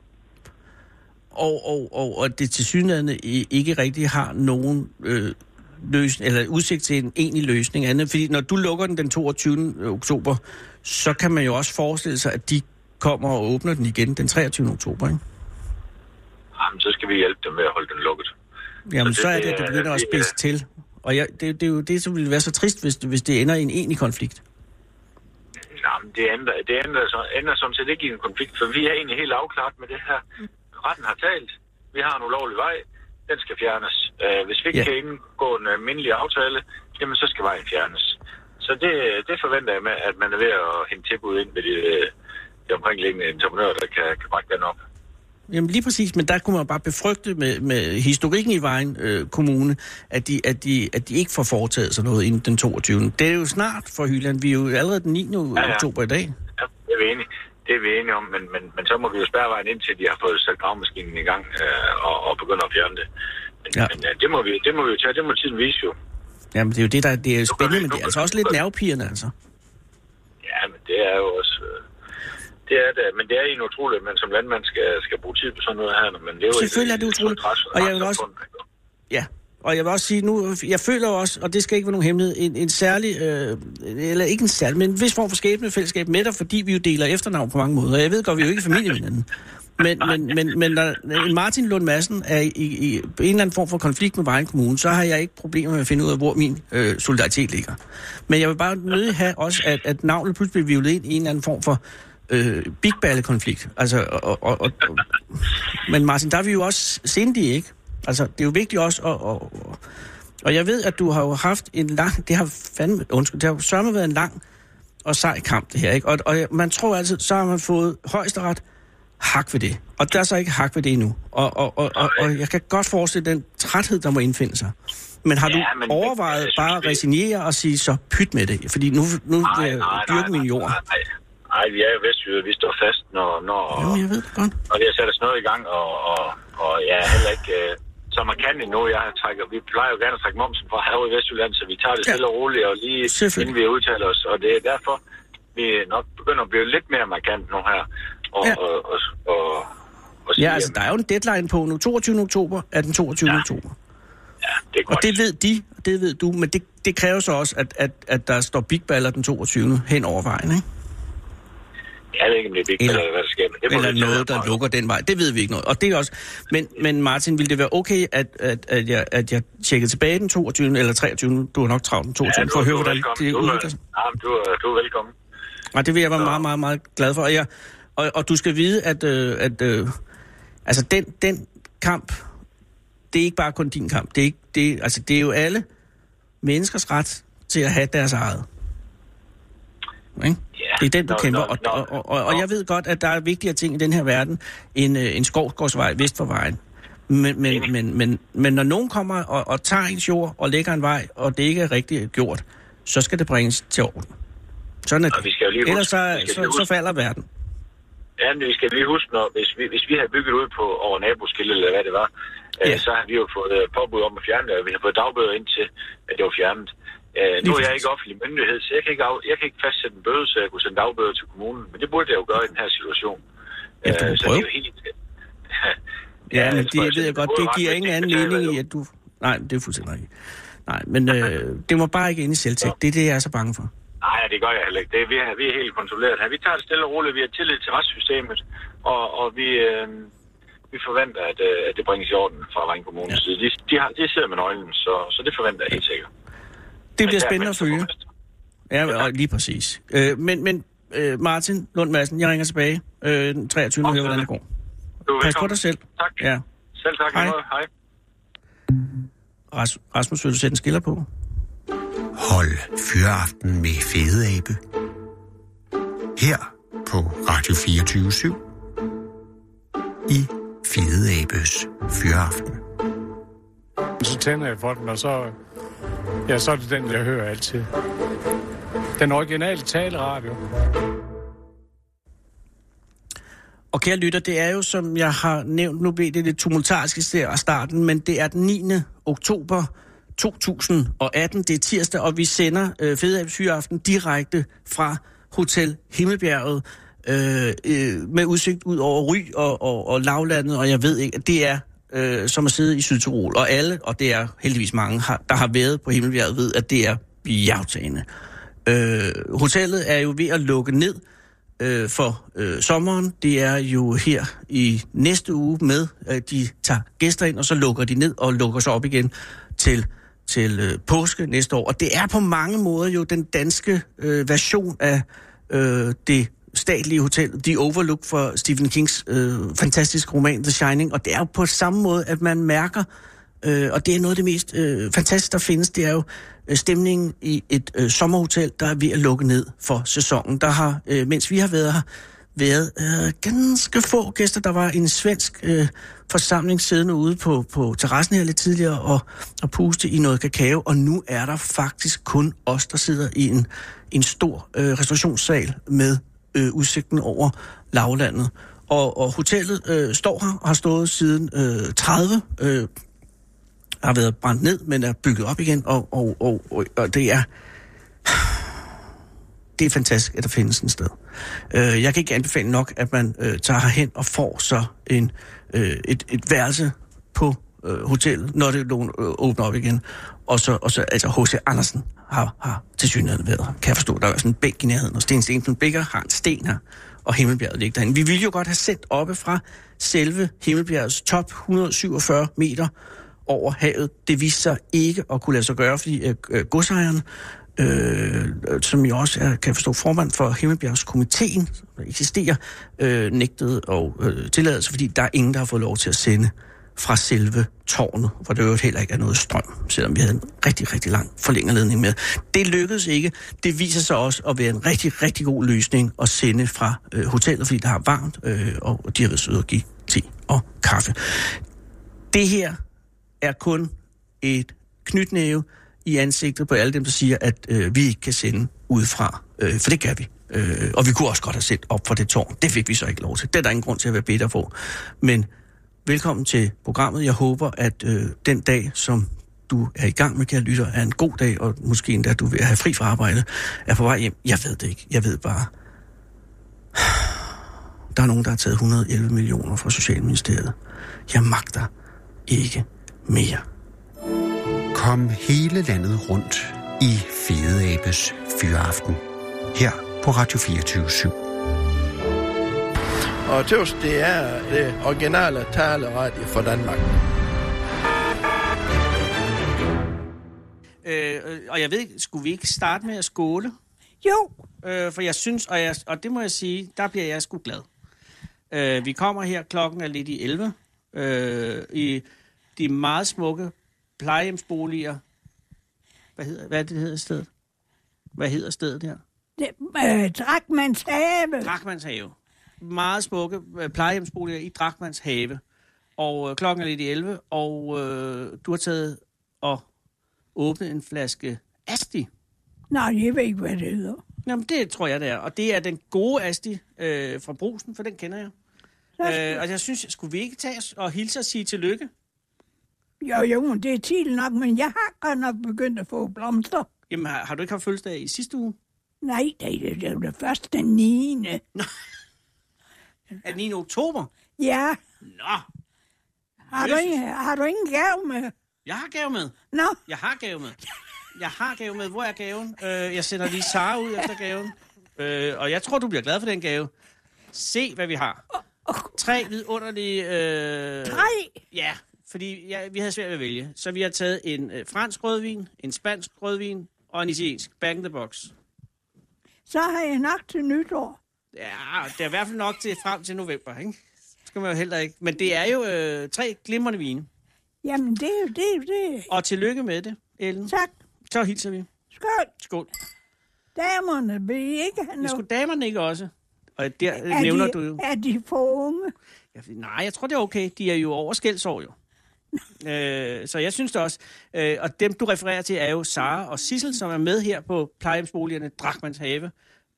S3: og, og, og, og det til synligheden ikke rigtig har nogen øh, løsning, eller udsigt til en egentlig løsning andet. Fordi når du lukker den den 22. oktober, så kan man jo også forestille sig, at de kommer og åbner den igen den 23. oktober, ikke?
S8: Jamen, så skal vi hjælpe dem med at holde den lukket.
S3: Jamen,
S8: det-
S3: så er
S8: det
S3: det, at du
S8: er-
S3: begynder at
S8: det-
S3: spidse til. Og jeg, det, det er jo det, som ville være så trist, hvis, hvis det ender i en egentlig konflikt.
S8: Nej, men det ændrer, det ændrer, så, ændrer sådan set ikke i en konflikt, for vi er egentlig helt afklaret med det her. Retten har talt. Vi har en ulovlig vej. Den skal fjernes. Øh, hvis vi ikke
S3: Ja.
S8: ja. kan indgå en almindelig aftale, jamen så skal vejen fjernes. Så det, det forventer jeg med, at man er ved at hente tilbud ind ved de, øh, de omkringliggende entreprenører, der kan, kan bakke den op.
S3: Jamen lige præcis, men der kunne man jo bare befrygte med, med historikken i Vejen øh, Kommune, at de, at, de, at de ikke får foretaget sig noget inden den 22. Det er jo snart for Hyland. Vi er jo allerede den 9. Ja,
S8: ja.
S3: oktober i dag.
S8: Ja, det er vi enige, det er vi enige om, men, men, men så må vi jo spærre vejen ind til, de har fået sat gravmaskinen i gang øh, og, og begynder at fjerne det. Men,
S3: Ja.
S8: ja. men øh, det, må vi, det må vi jo tage, det må tiden vise jo.
S3: Jamen det er jo det, der det er jo
S8: gør
S3: spændende,
S8: vi-
S3: men
S8: nu
S3: det er
S8: gør
S3: altså
S8: vi-
S3: også lidt nervepirrende, altså.
S8: Ja, men det er jo også... Øh, det er det, men det er egentlig utroligt, at man som landmand skal, skal bruge tid på sådan noget her. Men det er jo
S3: Selvfølgelig
S8: et-
S3: er det
S8: et
S3: utroligt.
S8: sundt rets-
S3: Og jeg vil også-
S8: retssamfund.
S3: Ja, og jeg vil også sige nu, jeg føler jo også, og det skal ikke være nogen hemmelighed, en, en særlig, øh, eller ikke en særlig, men en vis form for skæbnefællesskab med dig, fordi vi jo deler efternavn på mange måder. Jeg ved godt, vi er jo ikke familie med hinanden. Men, men, men, men når en Martin Lund Madsen er i, i en eller anden form for konflikt med Vejen Kommune, så har jeg ikke problemer med at finde ud af, hvor min øh, solidaritet ligger. Men jeg vil bare nødig have også, at, at navnet pludselig bliver vivlet ind i en eller anden form for øh, big konflikt Altså, og, og, og, og, men Martin, der er vi jo også sindige, ikke? Altså, det er jo vigtigt også at... Og, og, og jeg ved, at du har jo haft en lang... Det har fandme... Undskyld, det har jo sørme været en lang og sej kamp, det her, ikke? Og, og man tror altid, så har man fået højesteret hak ved det. Og der er så ikke hak ved det endnu. Og, og, og, og, og jeg kan godt forestille den træthed, der må indfinde sig. Men har
S8: Ja,
S3: du
S8: men-
S3: overvejet
S8: jeg synes,
S3: bare at
S8: det-
S3: resignere og sige, så pyt med det, fordi nu, nu vil jeg dyrke min jord?
S8: Nej, nej, nej, vi er jo vestjyder, vi står fast, når, når,
S3: Jamen, jeg ved det godt.
S8: og det har sat os noget i gang, og, og, og jeg er heller ikke øh, så markant endnu. Jeg trækker, vi plejer jo gerne at trække momsen fra herovre i Vestjylland, så vi tager det
S3: Ja.
S8: stille og roligt, og lige
S3: Selvfølgelig.
S8: inden vi udtaler os. Og det er derfor, vi nok begynder at blive lidt mere markant nu her. Og,
S3: Ja.
S8: ja. og, og, og, og sige,
S3: Ja, altså, der
S8: jamen,
S3: er jo en deadline på nu. 22. oktober er den 22. Ja.
S8: Ja.
S3: oktober.
S8: ja, det er
S3: Og
S8: godt.
S3: det ved de, og det ved du, men det, det kræver så også, at, at, at der står Big Baller den 22. hen over vejen, ikke?
S8: Jeg ved ikke, om det er vigtigt,
S3: Eller-
S8: eller, eller hvad der sker, men det må
S3: Eller
S8: vi tage
S3: noget, der
S8: derfra.
S3: lukker den vej. Det ved vi ikke noget. Og det er også... Men, men Martin, ville det være okay, at, at, at, jeg, at jeg tjekkede tilbage den 22. eller 23. Du har nok travlt den 22.
S8: du-
S3: for at høre,
S8: du er
S3: hvordan
S8: velkommen.
S3: det
S8: Du er-
S3: udvikler sig.
S8: Ja, men du, er- du er velkommen.
S3: Og det vil jeg være
S8: Så-
S3: meget, meget, meget glad for. Og, jeg, og, og du skal vide, at, øh, at øh, altså den, den kamp, det er ikke bare kun din kamp. Det er, ikke, det, er- altså, det er jo alle menneskers ret til at have deres eget. Ikke?
S8: Ja.
S3: Det er den, du
S8: Nå,
S3: kæmper.
S8: nå,
S3: Og,
S8: nå,
S3: og, og, og, og
S8: nå.
S3: jeg ved godt, at der er vigtigere ting i den her verden end øh, en skovgårdsvej vest for vejen. Men, men, men, men, men når nogen kommer og, og tager ens jord og lægger en vej, og det ikke er rigtigt gjort, så skal det bringes til orden. Sådan er
S8: Og
S3: det.
S8: vi skal jo lige huske-
S3: Ellers så,
S8: vi skal
S3: så,
S8: lige
S3: så
S8: huske-
S3: falder verden.
S8: Ja, men vi skal lige huske, når, hvis, vi, hvis vi havde bygget ud på over naboskilde, eller hvad det var, Øh,
S3: Ja.
S8: Så har vi jo fået øh, påbud om at fjerne det, og vi har fået dagbøder ind til, at det var fjernet. Øh, nu er jeg ikke offentlig myndighed, så jeg kan ikke, af, jeg kan ikke fastsætte en bøde, så jeg kunne sende dagbøder til kommunen. Men det burde jeg jo gøre i den her situation.
S3: Ja, du må
S8: Øh, så det er
S3: prøve.
S8: jo helt...
S3: Ja, men
S8: jeg tror,
S3: det ved jeg godt.
S8: burde
S3: Det
S8: ret,
S3: giver
S8: men
S3: ingen
S8: det
S3: anden
S8: betaler
S3: mening i,
S8: jo.
S3: at du... Nej, det er fuldstændig rigtigt. Nej, men øh, det må bare ikke ende i selvtægt. Det er det, jeg er så bange for.
S8: Nej, det gør jeg heller ikke. Det, er- vi, er, vi er helt kontrolleret her. Vi tager det stille og roligt. Vi har tillid til retssystemet, og, og vi, øh, vi forventer, at, øh, at det bringes i orden fra Vejen Kommunes ja. side. De, de, har, de sidder med nøglen, så, så det forventer jeg helt sikkert.
S3: Det
S8: Men
S3: bliver spændende
S8: dermed
S3: at
S8: så
S3: følge.
S8: borgmester.
S3: Ja, og lige præcis. Øh, men men øh, Martin Lund Madsen, jeg ringer tilbage øh, den 23. og hører, hvordan det går.
S8: Du er
S3: Pas på
S8: velkommen.
S3: dig selv.
S8: Tak.
S3: Ja.
S8: Selv tak.
S3: Hej.
S8: Hej. Hej.
S3: Ras- Rasmus, vil du sætte en skiller på?
S6: Hold fyreaften med Fede Abe. Her på Radio 24 I Fede Abes Fyreaften.
S9: Så tænder jeg for den, og så, ja, så er det den, jeg hører altid. Den originale taleradio.
S3: Og kære lytter, det er jo, som jeg har nævnt, nu blev det lidt tumultarisk i st- starten, men det er den 9. oktober 2018, det er tirsdag, og vi sender øh, Fedeabs Hyreaften direkte fra Hotel Himmelbjerget øh, øh, med udsigt ud over Ry og, og, og lavlandet, og jeg ved ikke, at det er øh, som at sidde i Sydtirol, og alle, og det er heldigvis mange, har, der har været på Himmelbjerget, ved, at det er bjergtagende. Øh, hotellet er jo ved at lukke ned, øh, for øh, sommeren. Det er jo her i næste uge med, at de tager gæster ind, og så lukker de ned og lukker sig op igen til, til øh, påske næste år. Og det er på mange måder jo den danske øh, version af øh, det statlige hotel, The Overlook for Stephen Kings øh, fantastiske roman The Shining. Og det er jo på samme måde, at man mærker, Øh, og det er noget af det mest øh, fantastiske, der findes. Det er jo øh, stemningen i et øh, sommerhotel, der er ved at lukke ned for sæsonen. Der har, øh, mens vi har været her, været øh, ganske få gæster. Der var en svensk øh, forsamling siddende ude på, på terrassen her lidt tidligere og, og puste i noget kakao. Og nu er der faktisk kun os, der sidder i en, en stor øh, restaurationssal med øh, udsigten over lavlandet. Og, og hotellet øh, står her og har stået siden øh, 30. Øh, har været brændt ned, men er bygget op igen, og, og, og, og, og det er... Det er fantastisk, at der findes en sted. Øh, jeg kan ikke anbefale nok, at man øh, tager herhen og får så en, øh, et, et værelse på øh, hotellet, når det lå- øh, åbner op igen. Og så, og så altså H.C. Andersen har, har til synligheden været her. Kan jeg forstå, der er sådan en bænk i nærheden, og Sten Stensen Bækker har en sten her, og Himmelbjerget ligger derinde. Vi ville jo godt have sendt oppe fra selve Himmelbjergets top 147 meter, over havet. Det viste sig ikke at kunne lade sig gøre, fordi øh, øh, godsejeren, øh, øh, som jo også er, kan jeg forstå, formand for Himmelbjergskomiteen, som eksisterer, øh, nægtede og øh, tilladelse, fordi der er ingen, der har fået lov til at sende fra selve tårnet, hvor der jo heller ikke er noget strøm, selvom vi havde en rigtig, rigtig lang forlængerledning med. Det lykkedes ikke. Det viser sig også at være en rigtig, rigtig god løsning at sende fra øh, hotellet, fordi der er varmt, øh, og de har været søde at give te og kaffe. Det her er kun et knytnæve i ansigtet på alle dem, der siger, at øh, vi ikke kan sende udefra. Øh, for det kan vi. Øh, og vi kunne også godt have sendt op fra det tårn. Det fik vi så ikke lov til. Det er der ingen grund til at være bitter på. Men velkommen til programmet. Jeg håber, at øh, den dag, som du er i gang med, kære lytter, er en god dag, og måske endda, du vil have fri fra arbejde, er på vej hjem. Jeg ved det ikke. Jeg ved bare, der er nogen, der har taget 111 millioner fra Socialministeriet. Jeg magter ikke mere.
S6: Kom hele landet rundt i Fede Abes Fyreaften. Her på Radio 24
S10: Og tøvs, det er det originale taleradio for Danmark.
S3: Øh, øh, og jeg ved ikke, skulle vi ikke starte med at skåle?
S11: Jo,
S3: Øh, for jeg synes, og, jeg, og det må jeg sige, der bliver jeg sgu glad. Øh, vi kommer her klokken er lidt i 11, øh, i de meget smukke plejehjemsboliger. Hvad, hedder, hvad er det, det hedder stedet? Hvad hedder stedet her?
S11: det, øh, Drakmans have.
S3: Drakmans have. Meget smukke øh, plejehjemsboliger i Drakmans have. Og øh, klokken er lidt i 11, og øh, du har taget og åbnet en flaske Asti.
S11: Nej, jeg ved ikke, hvad det hedder.
S3: Jamen, det tror jeg, det er. Og det er den gode Asti øh, fra Brusen, for den kender jeg. Øh, og jeg synes, skulle vi ikke tage os og hilse og sige tillykke?
S11: Jo, jo, men det er tidligt nok, men jeg har godt nok begyndt at få blomster.
S3: Jamen, har, har du ikke haft fødselsdag i sidste uge?
S11: Nej, det er det, det først den 9.
S3: Er den 9. oktober?
S11: Ja,
S3: Nå,
S11: har du, ikke- har du ingen gave med?
S3: jeg har gave med.
S11: Nå,
S3: Jeg har gave med. Jeg har gave med. Hvor er gaven? Øh, jeg sender lige Sara ud efter gaven. Øh, og jeg tror, du bliver glad for den gave. Se, hvad vi har. Tre vidunderlige... Øh,
S11: tre.
S3: Ja, fordi ja, vi havde svært ved at vælge. Så vi har taget en øh, fransk rødvin, en spansk rødvin og en italiensk. Back in the box.
S11: Så har jeg nok til nytår.
S3: Ja, det er i hvert fald nok til frem til november, ikke? Så skal man jo heller ikke. Men det er jo øh, tre glimrende vine.
S11: Jamen, det er jo det, er jo det.
S3: Og tillykke med det, Ellen.
S11: Tak.
S3: Så hilser vi.
S11: Skål.
S3: Skål.
S11: Damerne vil I ikke have
S3: Men
S11: noget.
S3: skulle damerne ikke også? Og der
S11: Er
S3: er nævner
S11: de,
S3: du jo...
S11: Er de for unge?
S3: Jeg ved- Nej, jeg tror, det er okay. De er jo over skældsår, jo. øh, så jeg synes det også. Øh, og dem, du refererer til, er jo Sara og Sissel, som er med her på plejehjemsboligerne Drachmanns Have.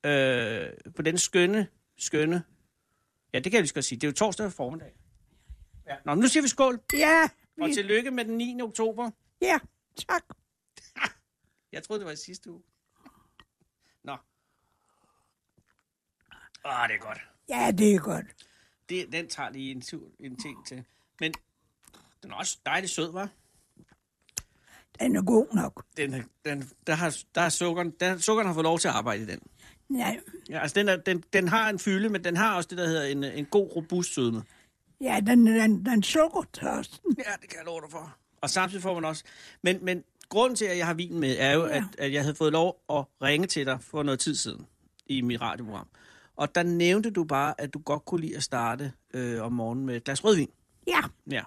S3: Øh, på den skønne, skønne... Ja, det kan jeg lige så godt sige. Det er jo torsdag formiddag. Ja. Nå, men nu siger vi skål.
S11: Ja,
S3: Og
S11: vi,
S3: tillykke med den 9. oktober.
S11: ja, tak.
S3: Jeg troede, det var i sidste uge. Nå. Åh, det er godt.
S11: Ja, det er godt.
S3: Det, den tager lige en, tur, en ting til. Men den er også dejligt sød, var.
S11: Den er god nok.
S3: Den, er- den, der har, der har sukkeren, der, sukkeren har fået lov til at arbejde i den.
S11: Ja,
S3: Ja, altså den, er, den, den har en fylde, men den har også det, der hedder en, en god, robust sødme.
S11: ja den, den, den sukkertørsten.
S3: Ja, det kan jeg love dig for. Og samtidig får man også... Men, men grunden til, at jeg har vin med, er jo, ja. at, at jeg havde fået lov at ringe til dig for noget tid siden i mit radioprogram. Og der nævnte du bare, at du godt kunne lide at starte øh, om morgenen med et glas rødvin.
S11: Ja,
S3: Ja.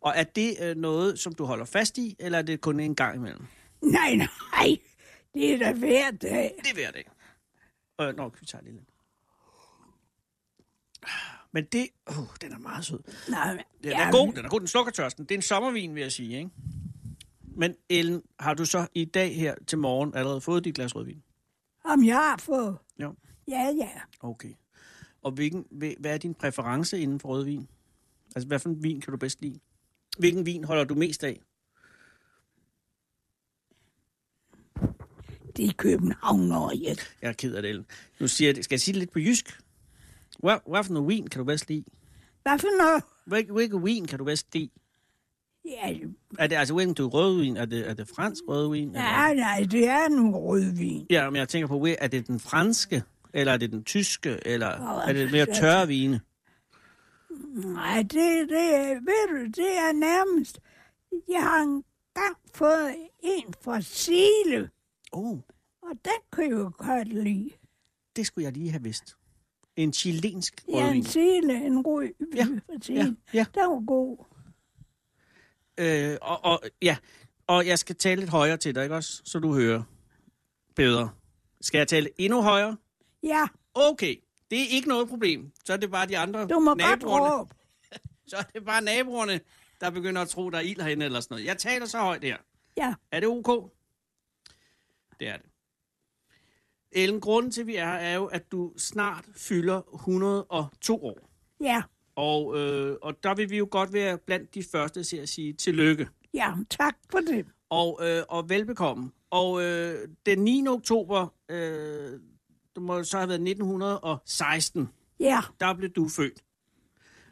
S3: Og er det øh, noget, som du holder fast i, eller er det kun en gang imellem?
S11: nej, nej. Det er da hver dag.
S3: Det er hver dag. Øh, nå, vi tager lige lidt. Men det... Åh, oh, den er meget sød.
S11: Nej,
S3: Den er god, den er god, den slukker tørsten. Det er en sommervin, vil jeg sige, ikke? Men Ellen, har du så i dag her til morgen allerede fået dit glas rødvin?
S11: Om jeg har fået...
S3: Jo.
S11: Ja, ja.
S3: Okay. Og hvilken, hvil- hvad er din præference inden for rødvin? Altså, hvad for en vin kan du bedst lide? Hvilken vin holder du mest af?
S11: Det er København og jeg.
S3: Jeg er ked af det, Ellen. Nu siger jeg det. Skal jeg sige det lidt på jysk? Hvad, hvad for noget vin kan du bedst lide?
S11: Hvad for noget?
S3: Hvil- Hvilken vin kan du bedst lide?
S11: Ja,
S3: Er det altså hvilken du rødvin? Er det, er det fransk rødvin? Eller-
S11: nej, nej, det er nu rødvin.
S3: Ja, men jeg tænker på, er det den franske, eller er det den tyske, eller
S11: Åh,
S3: er det mere tørre vine?
S11: Nej, det, det, er- ved du, det er nærmest... Jeg har engang fået en fra Sile,
S3: Oh,
S11: og den kan jeg jo godt lide.
S3: det skulle jeg lige have vidst. En chilensk
S11: Ja, en
S3: rødvin.
S11: sele, en rød
S3: Ja,
S11: vin fra Sile.
S3: ja, ja.
S11: Den var god.
S3: Øh, og, og, ja. og jeg skal tale lidt højere til dig, ikke også? Så du hører bedre. Skal jeg tale endnu højere?
S11: Ja,
S3: Okay, det er ikke noget problem. Så er det bare de andre
S11: du må godt
S3: naboerne.
S11: råbe.
S3: Så er det bare naboerne, der begynder at tro, der er ild herinde eller sådan noget. Jeg taler så højt her.
S11: Ja,
S3: Er det ok? Det er det. Ellen, grunden til, at vi er her, er jo, at du snart fylder 102 år.
S11: ja,
S3: Og, øh, og der vil vi jo godt være blandt de første til at sige tillykke.
S11: ja, tak for det.
S3: Og, øh, og velbekomme. Og øh, den 9. oktober, øh, det må så have været 1916,
S11: Ja,
S3: der blev du født.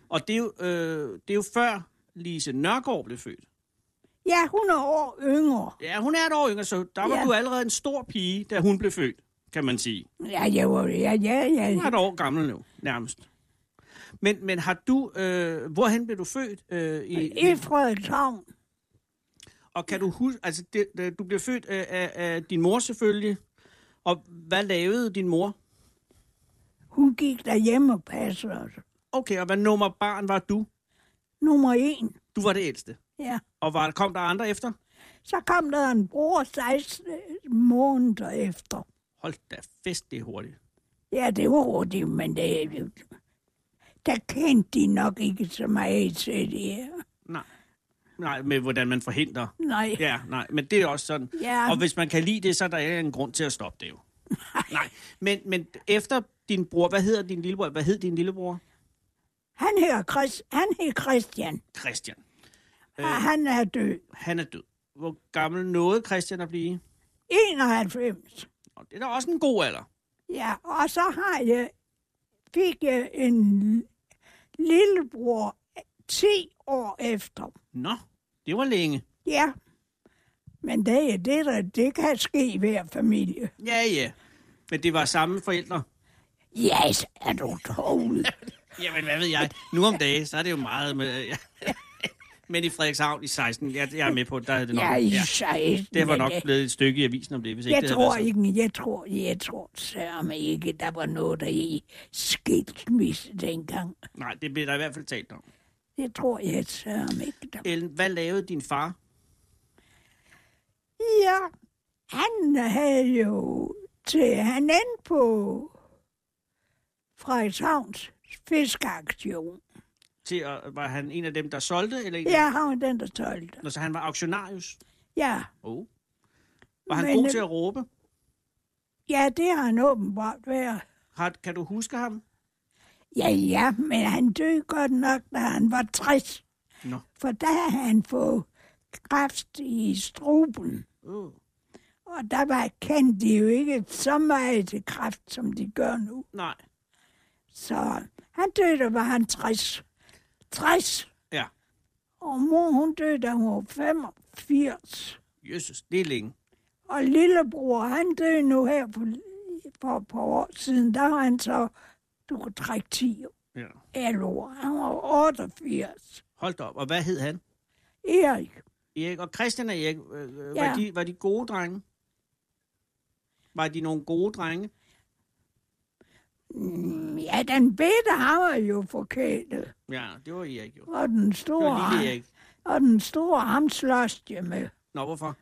S3: Og det er jo, øh, det er jo før Lise Nørgaard blev født.
S11: ja, hun er år yngre.
S3: Ja, hun er et år yngre, så der var
S11: Ja.
S3: du allerede en stor pige, da hun blev født, kan man sige.
S11: Ja, jeg var, ja, ja,
S3: Du er
S11: ja.
S3: et år gammel nu, nærmest. Men, men har du... Øh, hvorhen blev du født? Øh, i,
S11: I Frederikshavn.
S3: og kan du huske... Altså, det, det, du blev født øh, af, af din mor selvfølgelig. Og hvad lavede din mor?
S11: Hun gik derhjemme og passede os.
S3: Okay, og hvad nummer barn var du?
S11: Nummer en.
S3: Du var det ældste.
S11: Ja.
S3: Og var, kom der andre efter?
S11: Så kom der en bror 16 måneder efter.
S3: Hold da fest, det er hurtigt.
S11: Ja, det var hurtigt, men det, der kendte de nok ikke så meget til det her.
S3: Nej. Nej, med hvordan man forhindrer.
S11: Nej.
S3: Ja, nej, men det er også sådan.
S11: Ja.
S3: Og hvis man kan lide det, så er der ikke en grund til at stoppe det jo. nej. Men, men efter din bror, hvad hedder din lillebror? Hvad hed din lillebror?
S11: Han hedder Chris, han hed Christian,
S3: Christian.
S11: Øh, han er død.
S3: Han er død. Hvor gammel nåede Christian at blive?
S11: 91.
S3: Og det er da også en god alder.
S11: Ja, og så har jeg, fik jeg en lillebror 10 år efter.
S3: Nå, det var længe.
S11: Ja, men det, er det, der, det kan ske i hver familie.
S3: Ja, ja. Men det var samme forældre.
S11: Yes, er du trolig.
S3: Jamen, hvad ved jeg? Nu om dagen, så er det jo meget med... Ja. Men i Frederikshavn i 16, jeg, jeg er med på, der er det nok...
S11: Ja, i 16,
S3: Det var
S11: men,
S3: nok
S11: øh,
S3: blevet et stykke i avisen om det, hvis ikke
S11: Jeg
S3: det
S11: tror
S3: havde været
S11: ikke, jeg tror, jeg tror sørme ikke, der var noget, der i skilsmisse dengang.
S3: sådan. Nej, det blev der i hvert fald talt om.
S11: Det tror jeg sørme ikke. Der...
S3: Ellen, hvad lavede din far?
S11: Ja, han havde jo til han endte på Frederikshavns fiskeaktion.
S3: Til at, var han en af dem, der solgte? Eller en
S11: Ja, han var den, der solgte.
S3: Når så han var auktionarius?
S11: Ja,
S3: Oh. Var han
S11: Men,
S3: god
S11: øh,
S3: til at råbe?
S11: ja, det har han åbenbart været.
S3: Har, kan du huske ham?
S11: Ja, ja, men han døde godt nok, da han var 60.
S3: Nå.
S11: For der havde han fået kræft i struben.
S3: Uh.
S11: Og der var kendt de jo ikke så meget til kræft, som de gør nu.
S3: Nej.
S11: Så han døde, da var han 60. 60!
S3: Ja.
S11: Og mor, hun døde, da hun var 85.
S3: Jesus, det er længe.
S11: Og lillebror, han døde nu her for, for et par år siden. Der var han så, du kunne trække 10 år.
S3: Ja.
S11: 11 år. Han var 88.
S3: Hold da op. Og hvad hed han?
S11: Erik,
S3: Erik og Christian og Erik, øh, øh,
S11: Ja.
S3: var, de, var de gode drenge? Var de nogle gode drenge?
S11: mm, ja, den bedte, han var jo forkælet.
S3: Ja, det var Erik jo.
S11: Og den
S3: Det
S11: store,
S3: var lille Erik.
S11: og den store ham slås jeg med.
S3: Nå, hvorfor?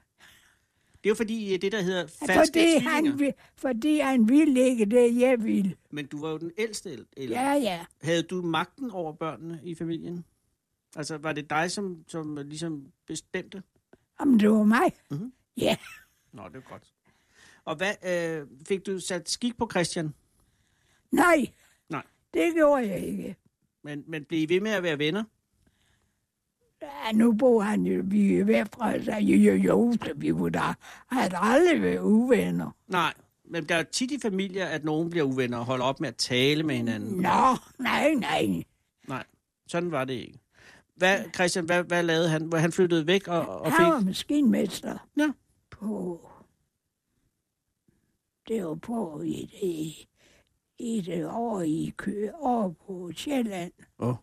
S3: Det er jo fordi, I er det der hedder falske
S11: Fordi
S3: tvillinger.
S11: han, vil- fordi han ville ikke det, jeg ville.
S3: Men du var jo den ældste. el- Eller?
S11: Ja, ja.
S3: Havde du magten over børnene i familien? Altså, var det dig, som, som ligesom bestemte?
S11: Jamen, det var mig.
S3: Mhm.
S11: Ja,
S3: Nå, det er godt. Og hvad, øh, fik du sat skik på Christian?
S11: nej,
S3: Nej.
S11: det gjorde jeg ikke.
S3: Men, men blev I ved med at være venner?
S11: Ja, nu bor han jo, vi er væk fra, så jo, jo, jo, så vi kunne da have aldrig været uvenner.
S3: Nej, men der er tit i familier, at nogen bliver uvenner og holder op med at tale med hinanden.
S11: Nå, nej, nej.
S3: Nej, sådan var det ikke. Hvad, Christian, hvad, hvad lavede han? Hvor Han flyttede væk og, og
S11: Han var
S3: fik...
S11: maskinmester
S3: Ja.
S11: på... Det var på et, et, et år i Kø, over på Sjælland.
S3: Åh.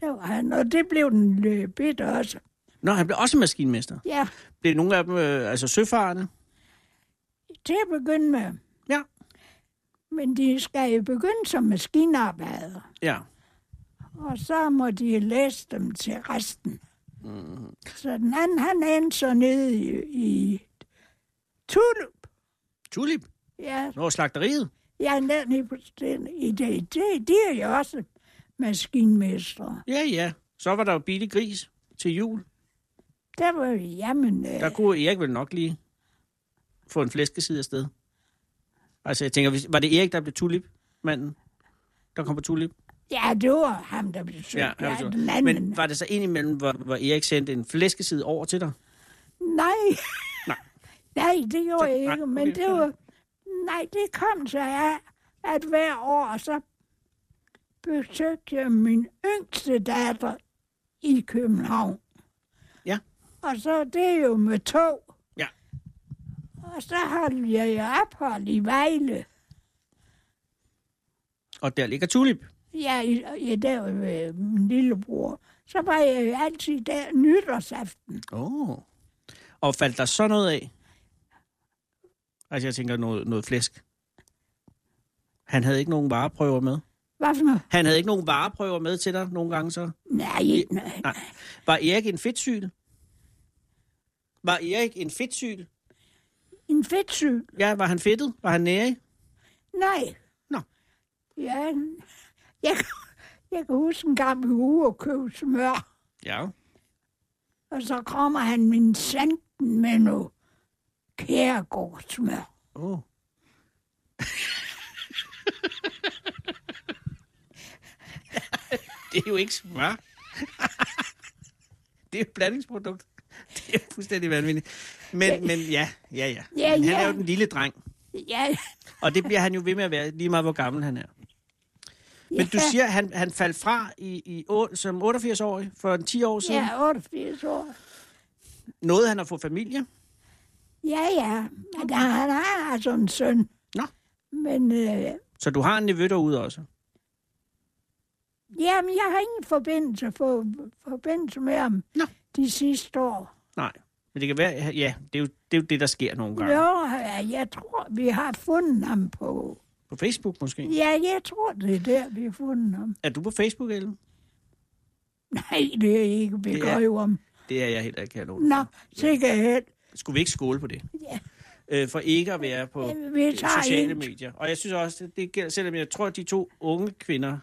S11: Der var han, og det blev den øh, bidt også.
S3: Nå, han blev også maskinmester.
S11: Ja,
S3: Blev nogle af dem, øh, altså søfarerne?
S11: til at begynde med.
S3: Ja.
S11: Men de skal jo begynde som maskinarbejdere,
S3: Ja.
S11: og så må de læse dem til resten. Mm. Så den anden, han endte så nede i, i Tulup.
S3: Tulip?
S11: Ja,
S3: Nå, slagteriet?
S11: ja nede i, den, i det, det. De er jo også maskinmestre.
S3: Ja, ja. Så var der jo billig gris til jul.
S11: Der var vi, jamen, øh,
S3: Der kunne Erik vel nok lige få en flæskeside afsted. Altså, jeg tænker, hvis- var det Erik, der blev tulip-manden? Der kom på tulip?
S11: ja, det var ham, der blev søgt.
S3: Ja, ja,
S11: ja
S3: ja
S11: den anden.
S3: Men var det så indimellem, hvor, hvor Erik sendte en flæskeside over til dig?
S11: Nej.
S3: Nej.
S11: Nej, det gjorde jeg
S3: nej,
S11: ikke, men
S3: okay,
S11: det var... Nej, det kom så af, at hver år så besøgte jeg min yngste datter i København.
S3: Ja.
S11: Og så det er jo med tog.
S3: Ja.
S11: Og så holdt jeg jo ophold i Vejle.
S3: Og der ligger tulip.
S11: Ja, i, i der med min lillebror. Så var jeg jo altid der nytårsaften.
S3: Åh. Oh. Og faldt der så noget af? Altså, jeg tænker noget, noget flæsk. Han havde ikke nogen vareprøver med.
S11: Hvad for noget?
S3: Han havde ikke nogen vareprøver med til dig nogle gange så.
S11: Nej, nej.
S3: Nej. Var Erik en fedtsyl? Var Erik en fedtsyl?
S11: En fedtsyg.
S3: Ja, var han fedtet? Var han nærig?
S11: Nej.
S3: Nå.
S11: Ja, jeg, jeg kan huske en gang vi var ude og købe smør,
S3: Ja.
S11: og så kommer han min sanden med noget kærgårdsmør.
S3: Oh. det er jo ikke smør. er et blandingsprodukt. Det er fuldstændig vanvittigt. Men, men ja, ja, ja.
S11: Ja,
S3: Men Han
S11: ja.
S3: er jo den lille dreng.
S11: Ja,
S3: Og det bliver han jo ved med at være, lige meget hvor gammel han er. Men du siger, at han, han faldt fra i, i, å- som 88-årig for en 10 år siden.
S11: jeg er 88 år.
S3: Nåede han at få familie?
S11: Ja, ja. Men der, han har altså en søn.
S3: Nå.
S11: Men øh,
S3: Så du har en nevø derude også?
S11: jamen, jeg har ingen forbindelse, for, forbindelse med ham
S3: Nå.
S11: de sidste år.
S3: Nej. Men det kan være, ja, det er jo det, er jo det der sker nogle gange.
S11: Jo, jeg tror, vi har fundet ham på.
S3: På Facebook måske?
S11: Ja, jeg tror, det er der, vi har fundet ham.
S3: Er du på Facebook, Ellen?
S11: Nej, det er ikke. Vi
S3: Det
S11: går
S3: er-
S11: jo om.
S3: Det er jeg heller ikke, Hallo.
S11: Nå, sikkerhed.
S3: Skulle vi ikke skåle på det?
S11: Ja.
S3: Øh, for ikke at være på
S11: Jamen, vi
S3: øh,
S11: tager
S3: sociale
S11: en.
S3: medier. Og jeg synes også, det- det gælder, selvom jeg tror, at de to unge kvinder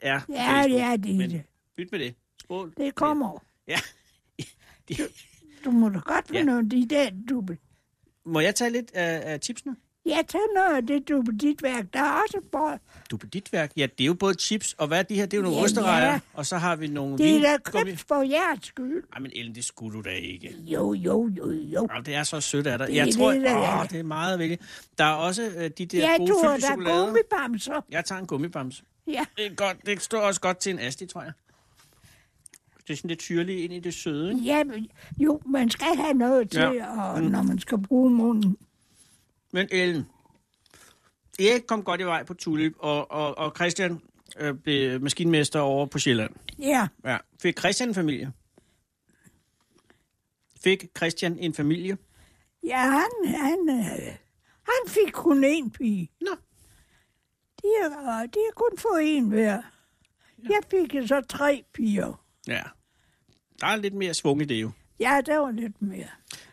S3: er på
S11: Ja,
S3: Facebook.
S11: ja, det er det.
S3: Byt med det. Skål.
S11: Det kommer.
S3: Ja. De-
S11: Du må da godt få
S3: Ja.
S11: ja. noget af de der dubbel.
S3: Må jeg tage lidt af, af tipsene?
S11: Ja, tag noget af det dubbel dit værk. Der er også bare...
S3: Du på dit værk? Ja, det er jo både chips, og hvad er de her? Det er jo nogle
S11: Ja,
S3: osterejer,
S11: ja.
S3: og så har vi nogle
S11: Det er da
S3: vingummi.
S11: købt for jeres skyld.
S3: Ej, men Ellen, det skulle du da ikke.
S11: Jo, jo, jo, jo.
S3: Nå, det er så sødt af dig.
S11: Det
S3: Jeg
S11: er
S3: tror,
S11: det, der er.
S3: åh, det er meget vældig. Der er også øh, de der
S11: Jeg
S3: gode
S11: tror,
S3: fyldte
S11: der er
S3: chokolader.
S11: gummibamser.
S3: Jeg tager en gummibamse.
S11: Ja.
S3: Det, er godt, det står også godt til en asti, tror jeg. Det er sådan lidt syrligt ind i det søde, ikke?
S11: Ja, men- jo, man skal have noget til,
S3: Ja. Mm.
S11: ja. og når man skal bruge munden.
S3: Men Ellen, Erik kom godt i vej på Tulip, og, og, og Christian øh, blev maskinmester over på Sjælland.
S11: Ja,
S3: Ja. Fik Christian en familie? Fik Christian en familie?
S11: ja han, han, øh, han fik kun én pige.
S3: Nå.
S11: De har, de har kun fået én hver. Jeg fik jo så tre piger.
S3: Ja. Der er lidt mere svung i det jo.
S11: Ja, der var lidt mere.
S3: Men-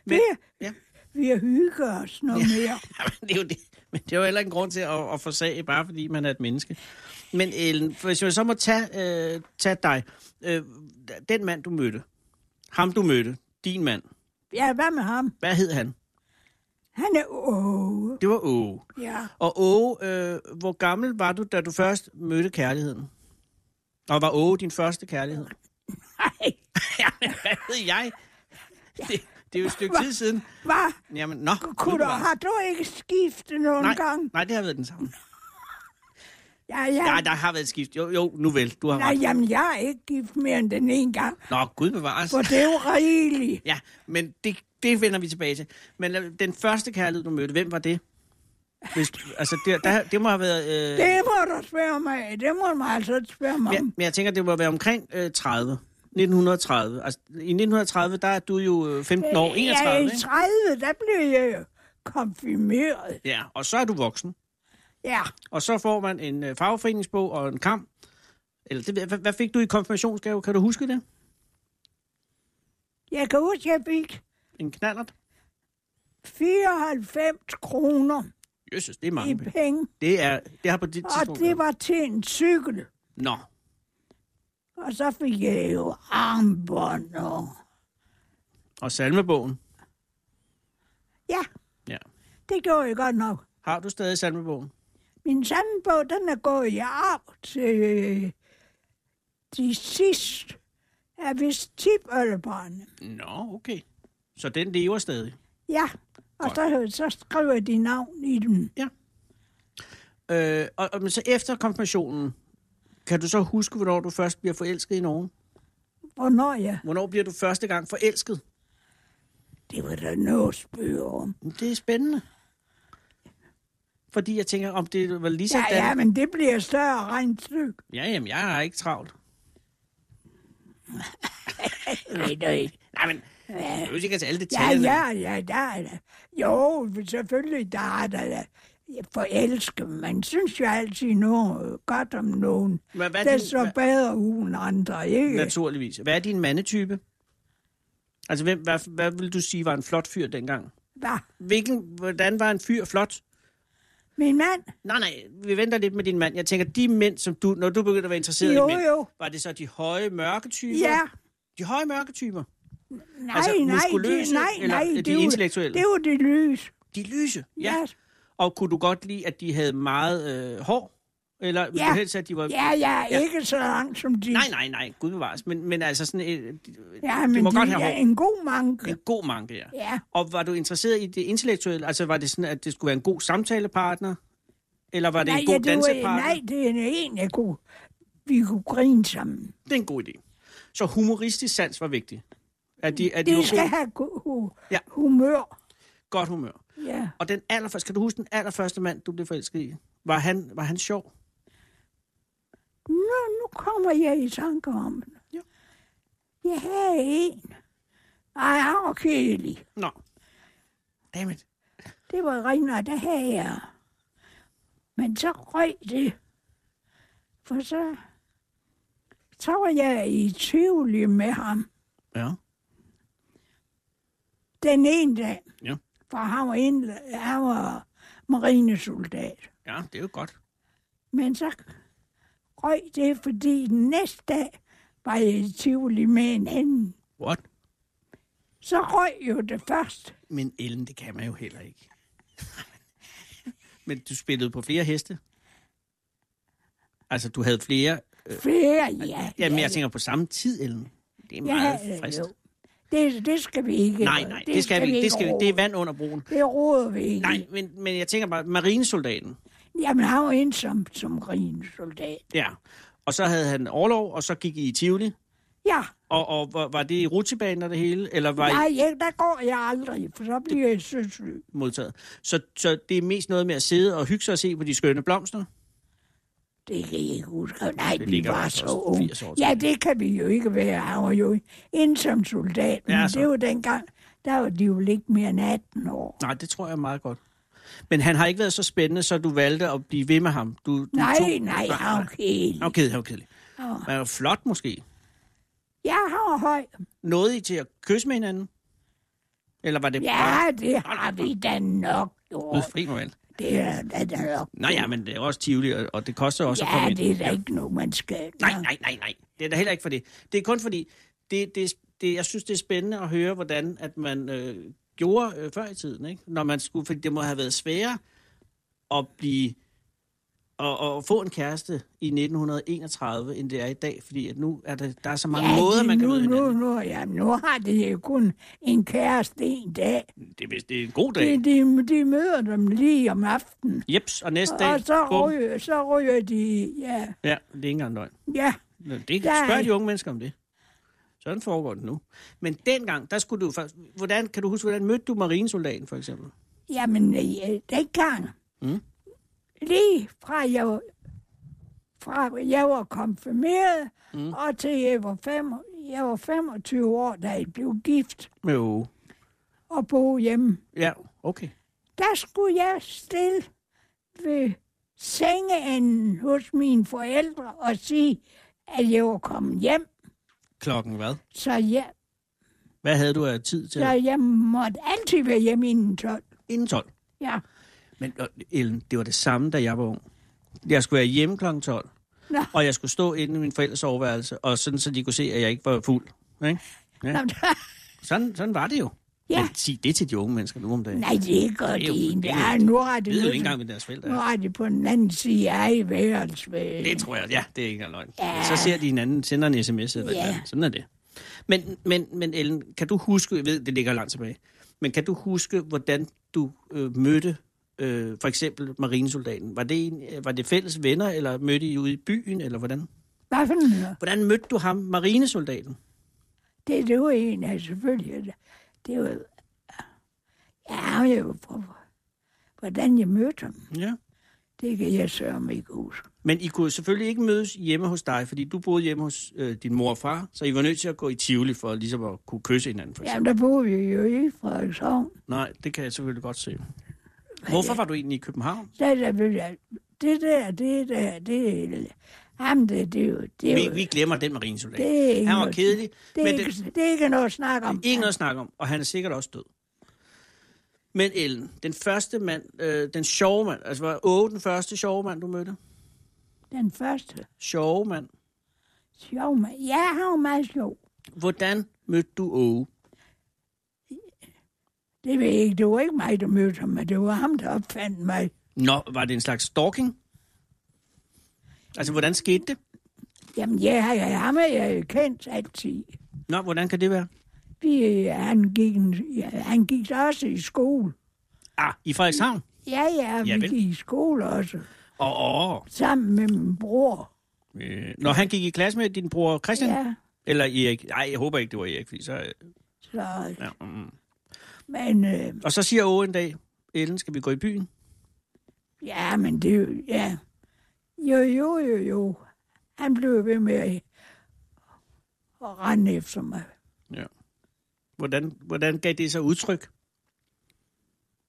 S11: Men, vi,
S3: ja.
S11: ja. vi har hygget os noget ja. mere.
S3: Jamen, det er jo det. Men det er jo heller ikke en grund til at, at forsage, bare fordi man er et menneske. Men Ellen, hvis jeg så må tage, øh, tage dig. Øh, den mand, du mødte. Ham, du mødte. Din mand.
S11: Ja, hvad med ham?
S3: Hvad hed han?
S11: Han er åh,
S3: Det var Åge.
S11: ja.
S3: Og Åge, øh, hvor gammel var du, da du først mødte kærligheden? Og var Åge din første kærlighed?
S11: Nej,
S3: Jamen, hvad ved jeg? Det, det er jo et stykke tid siden.
S11: hvad?
S3: Jamen, nå.
S11: Kunne du, har du ikke skiftet nogen
S3: Nej,
S11: gang?
S3: nej, det har været den samme.
S11: Ja, ja.
S3: Nej, der har været et skift. Jo, jo, nu vel, du har
S11: Nej,
S3: ret.
S11: jamen, jeg er ikke gift mere end den ene gang,
S3: Nå, Gud bevares.
S11: for det er jo rigeligt.
S3: Ja, men det, det vender vi tilbage til. Men øh, den første kærlighed, du mødte, hvem var det? Hvis, altså, det, der, det må have været... Øh,
S11: Det må du spørge mig. Det må man altså spørge mig
S3: men,
S11: om.
S3: men jeg tænker, det må være omkring øh, 30. 1930. Altså, i 1930, der er du jo øh, 15 år, 31,
S11: ja, i
S3: ikke?
S11: 30, der blev jeg jo konfirmeret.
S3: Ja, og så er du voksen.
S11: Ja,
S3: Og så får man en øh, fagforeningsbog og en kamp. Eller det, ved jeg- hvad, hvad fik du i konfirmationsgave? Kan du huske det?
S11: jeg kan huske, at jeg fik
S3: En knallert?
S11: 94 kroner
S3: Jesus, det er
S11: i
S3: mange penge.
S11: penge,
S3: Det, er, det har på dit
S11: og
S3: tidspunkt...
S11: det
S3: været-
S11: var til en cykel.
S3: Nå,
S11: Og så fik jeg jo armbånd og...
S3: og salmebogen.
S11: Ja,
S3: Ja.
S11: det gjorde jeg godt nok.
S3: Har du stadig salmebogen?
S11: Min sandbog, den er gået i arv til øh, de sidste af vist tipølberne.
S3: Nå, okay. Så den lever stadig.
S11: Ja, og så, så skriver de navn i den.
S3: Øh, og, og men så efter konfirmationen, kan du så huske, hvornår du først bliver forelsket i nogen?
S11: Hvornår jeg?
S3: Hvornår bliver du første gang forelsket?
S11: Det var der noget spøge om.
S3: Det er spændende. Fordi jeg tænker, om det var lige
S11: Ja,
S3: sådan...
S11: ja, men det bliver et større regnstykke.
S3: ja, jamen, jeg har ikke travlt.
S11: Nej, nej.
S3: Nej, men... Jeg ved ikke, at alle
S11: Ja,
S3: detaljerne...
S11: ja, ja, der er der. Jo, selvfølgelig, der er der, der. Jeg forelsker, man synes jo altid noget godt om nogen.
S3: Men hvad er
S11: Det er
S3: din-
S11: så
S3: hvad-
S11: bedre uden andre, ikke?
S3: Naturligvis. Hvad er din mandetype? Altså, hvem, hvad, hvad vil du sige var en flot fyr dengang?
S11: Hvad?
S3: Hvilken, hvordan var en fyr flot?
S11: Min mand?
S3: Nej, nej, vi venter lidt med din mand. Jeg tænker, de mænd, som du, når du begyndte at være interesseret
S11: Jo,
S3: i mænd,
S11: jo.
S3: var det så de høje mørke typer?
S11: Ja.
S3: De høje mørke typer?
S11: Nej,
S3: Altså,
S11: nej,
S3: muskuløse,
S11: det, nej,
S3: eller
S11: nej,
S3: er de
S11: det er jo-
S3: intellektuelle?
S11: Det er jo det lys.
S3: De lyse, ja.
S11: Ja.
S3: Og kunne du godt lide, at de havde meget øh, hår? Eller ville
S11: Ja.
S3: du helst, at de var...
S11: Ja, ja, ikke så langt som de.
S3: Nej, nej, nej, gud bevares. Men, men altså sådan... Et,
S11: Ja, men
S3: du må
S11: de
S3: godt have
S11: er
S3: hår.
S11: en god manke.
S3: En god manke, ja.
S11: Ja.
S3: Og var du interesseret i det intellektuelle? Altså var det sådan, at det skulle være en god samtalepartner? Eller var det
S11: nej,
S3: en god
S11: ja, det var-
S3: dansepartner?
S11: Nej, det er en, en jeg kunne, vi kunne grine sammen.
S3: Det er en god idé. Så humoristisk sans var vigtig. At de, at de, var
S11: De skal
S3: gode-
S11: have go- hu-
S3: Ja.
S11: humør.
S3: godt humør.
S11: Ja.
S3: Og den allerførste, skal du huske den allerførste mand, du blev forelsket i? Var han, var han sjov?
S11: Nå, nu kommer jeg i tanke om det.
S3: Ja.
S11: Jeg havde en. Ej, han var kedelig.
S3: Nå. Dammit.
S11: Det var ringere, der havde jeg. Men så røg det. For så, så var jeg i tvivl med ham.
S3: Ja.
S11: Den ene dag.
S3: Ja.
S11: For han var, indla- han var marinesoldat.
S3: Ja, det er jo godt.
S11: Men så røg det, fordi den næste dag var jeg i Tivoli med en anden.
S3: What?
S11: Så røg jo det først.
S3: Men Ellen, det kan man jo heller ikke. Men du spillede på flere heste? Altså, du havde flere... Øh,
S11: Flere, ja.
S3: Jamen, jeg tænker på samme tid, Ellen. Det er meget
S11: ja,
S3: frist.
S11: jo. Det, det skal vi ikke.
S3: Nej, nej, det skal vi ikke. Det, skal vi, det er
S11: rode.
S3: vand under broen.
S11: Det roder vi ikke.
S3: Nej, men, men jeg tænker bare, marinesoldaten.
S11: Jamen, han var ensom som grinesoldat.
S3: Ja. Og så havde han overlov, og så gik I i Tivoli.
S11: Ja,
S3: Og, og var, var det i rutsjebanen og det hele? Eller var
S11: nej,
S3: I
S11: ja, der går jeg aldrig, for så bliver jeg søsyg.
S3: modtaget? Så, så det er mest noget med at sidde og hygge sig og se på de skønne blomster?
S11: Det kan jeg ikke huske. Nej,
S3: Det
S11: vi
S3: ligger
S11: var
S3: altså
S11: så
S3: også
S11: unge.
S3: 80 år
S11: Ja, det kan vi jo ikke være. Han var jo ensom soldat, men
S3: Ja,
S11: ja,
S3: så.
S11: det var dengang, der var de jo ikke mere end 18 år.
S3: Nej, det tror jeg er meget godt. Men han har ikke været så spændende, så du valgte at blive ved med ham? Du, du
S11: Nej,
S3: tog...
S11: nej, han var kedelig.
S3: Okay, han var kedelig.
S11: Han var-
S3: Han var flot måske.
S11: Ja, han var høj.
S3: Nåede I til at kysse med hinanden? Eller var det bare...
S11: Ja, det har vi da nok
S3: Gud,
S11: gjort.
S3: fri mig vel.
S11: Det er da da nok.
S3: Nå ja, men det er også Tivoli, og, og det koster også at komme
S11: Ja,
S3: ind.
S11: det er da ikke noget, man skal.
S3: Nej, nej, nej, nej. Det er da heller ikke for det. Det er kun fordi, det, det, det, jeg synes, det er spændende at høre, hvordan at man øh, gjorde øh, før i tiden, ikke? Når man skulle, fordi det må have været sværere at blive og, og få en kæreste i 1931, end det er i dag, fordi at nu er der, der er så mange
S11: ja,
S3: måder,
S11: det-
S3: man kan
S11: nu,
S3: møde
S11: nu,
S3: hinanden.
S11: nu, ja, nu har de jo kun en kæreste en dag.
S3: Det, er vist- det er en god dag.
S11: De, de, de møder dem lige om aftenen.
S3: Jeps, og næste dag...
S11: Og så
S3: bum.
S11: ryger, så ryger de, ja,
S3: Ja, det er ikke engang løgn.
S11: ja,
S3: Nå, Det
S11: Der er
S3: spørger de
S11: ikke-
S3: unge mennesker om det. Sådan foregår det nu. Men dengang, der skulle du faktisk... Hvordan, kan du huske, hvordan mødte du marinesoldaten, for eksempel?
S11: jamen, ja, dengang,
S3: Mm.
S11: lige fra jeg, var- fra jeg var konfirmeret,
S3: Mm.
S11: mm. og til jeg var, fem, jeg var 25 år, da jeg blev gift
S3: Jo.
S11: og boede hjemme,
S3: Ja, okay.
S11: der skulle jeg stille ved sengeenden hos mine forældre og sige, at jeg var kommet hjem,
S3: Klokken hvad?
S11: så jeg,
S3: Hvad havde du af tid til?
S11: så jeg måtte altid være hjemme inden 12.
S3: Inden 12.
S11: Ja.
S3: Men øh, Ellen, det var det samme, da jeg var ung. Jeg skulle være hjemme klokken 12,
S11: Nå.
S3: og jeg skulle stå inde i min forældres overværelse, og sådan, så de kunne se, at jeg ikke var fuld. Ikke? Ja.
S11: Nå, men-
S3: Sådan, sådan var det jo.
S11: Ja.
S3: Men sig det til de unge mennesker nu om dagen.
S11: Nej, det gør
S3: Det er jo-
S11: de ikke.
S3: det er jo-
S11: Ja, nu har
S3: det
S11: de,
S3: ved jo ikke engang,
S11: nu,
S3: hvad deres forældre
S11: nu
S3: er.
S11: har de på den anden side af værelse.
S3: Det tror jeg, ja, det er ikke engang løgn.
S11: Ja.
S3: Så ser de hinanden, sender en sms eller
S11: Ja.
S3: ja. Sådan er det. Men, men, men Ellen, kan du huske, jeg ved, det ligger langt tilbage, men kan du huske, hvordan du øh, mødte øh, for eksempel marinesoldaten? Var det, en, øh, var det fælles venner, eller mødte I ude i byen, eller hvordan?
S11: Hvad for noget?
S3: Hvordan mødte du ham, marinesoldaten?
S11: Det, det var en af selvfølgelig. Det var... Ja, jeg var på, hvordan jeg mødte ham.
S3: Ja.
S11: Det kan jeg sørge ikke huske.
S3: Men I kunne selvfølgelig ikke mødes hjemme hos dig, fordi du boede hjemme hos øh, din mor og far, så I var nødt til at gå i Tivoli for ligesom at kunne kysse hinanden, for
S11: Jamen,
S3: eksempel.
S11: der boede vi jo i Frederikshavn.
S3: Nej, det kan jeg selvfølgelig godt se. Hvorfor var du egentlig i København?
S11: Der, der, blev jeg- det der, det der, det... Ham, det, det er jo... Det, er
S3: Vi,
S11: jo-
S3: vi glemmer den
S11: det
S3: marinesoldat.
S11: er ikke
S3: Han var
S11: noget-
S3: kedelig,
S11: Det er,
S3: men
S11: ikke, det, det er ikke noget at snakke om.
S3: Ikke noget at snakke om, og han er sikkert også død. Men Ellen, den første mand, øh, den sjove mand, altså var Åge den første sjove mand, du mødte?
S11: Den første.
S3: Sjove mand.
S11: Sjov, mand. ja, han var meget sjov.
S3: Hvordan mødte du Åge?
S11: Det ved jeg ikke. Det var ikke mig, der mødte ham, men det var ham, der opfandt mig.
S3: Nå, var det en slags stalking? Altså, hvordan skete det?
S11: Jamen, ja, ja, ham er jeg jo kendt altid.
S3: Nå, hvordan kan det være?
S11: Vi, øh, han, gik, en- ja, han gik så også i skole.
S3: Ah, i Frederikshavn?
S11: Ja, ja, vi
S3: Javel.
S11: gik i skole også.
S3: Åh, oh,
S11: Sammen med min bror.
S3: oh. Når han gik i klasse med din bror Christian?
S11: Ja,
S3: Eller Erik? Nej, jeg håber ikke, det var Erik, fordi så... øh,
S11: så,
S3: Ja, mm.
S11: men, øh,
S3: Og så siger Åge en dag, Ellen, skal vi gå i byen?
S11: ja, men det, er jo- ja. Jo, jo, jo, jo. Han blev ved med at at rende efter mig.
S3: Hvordan, hvordan gav det sig udtryk?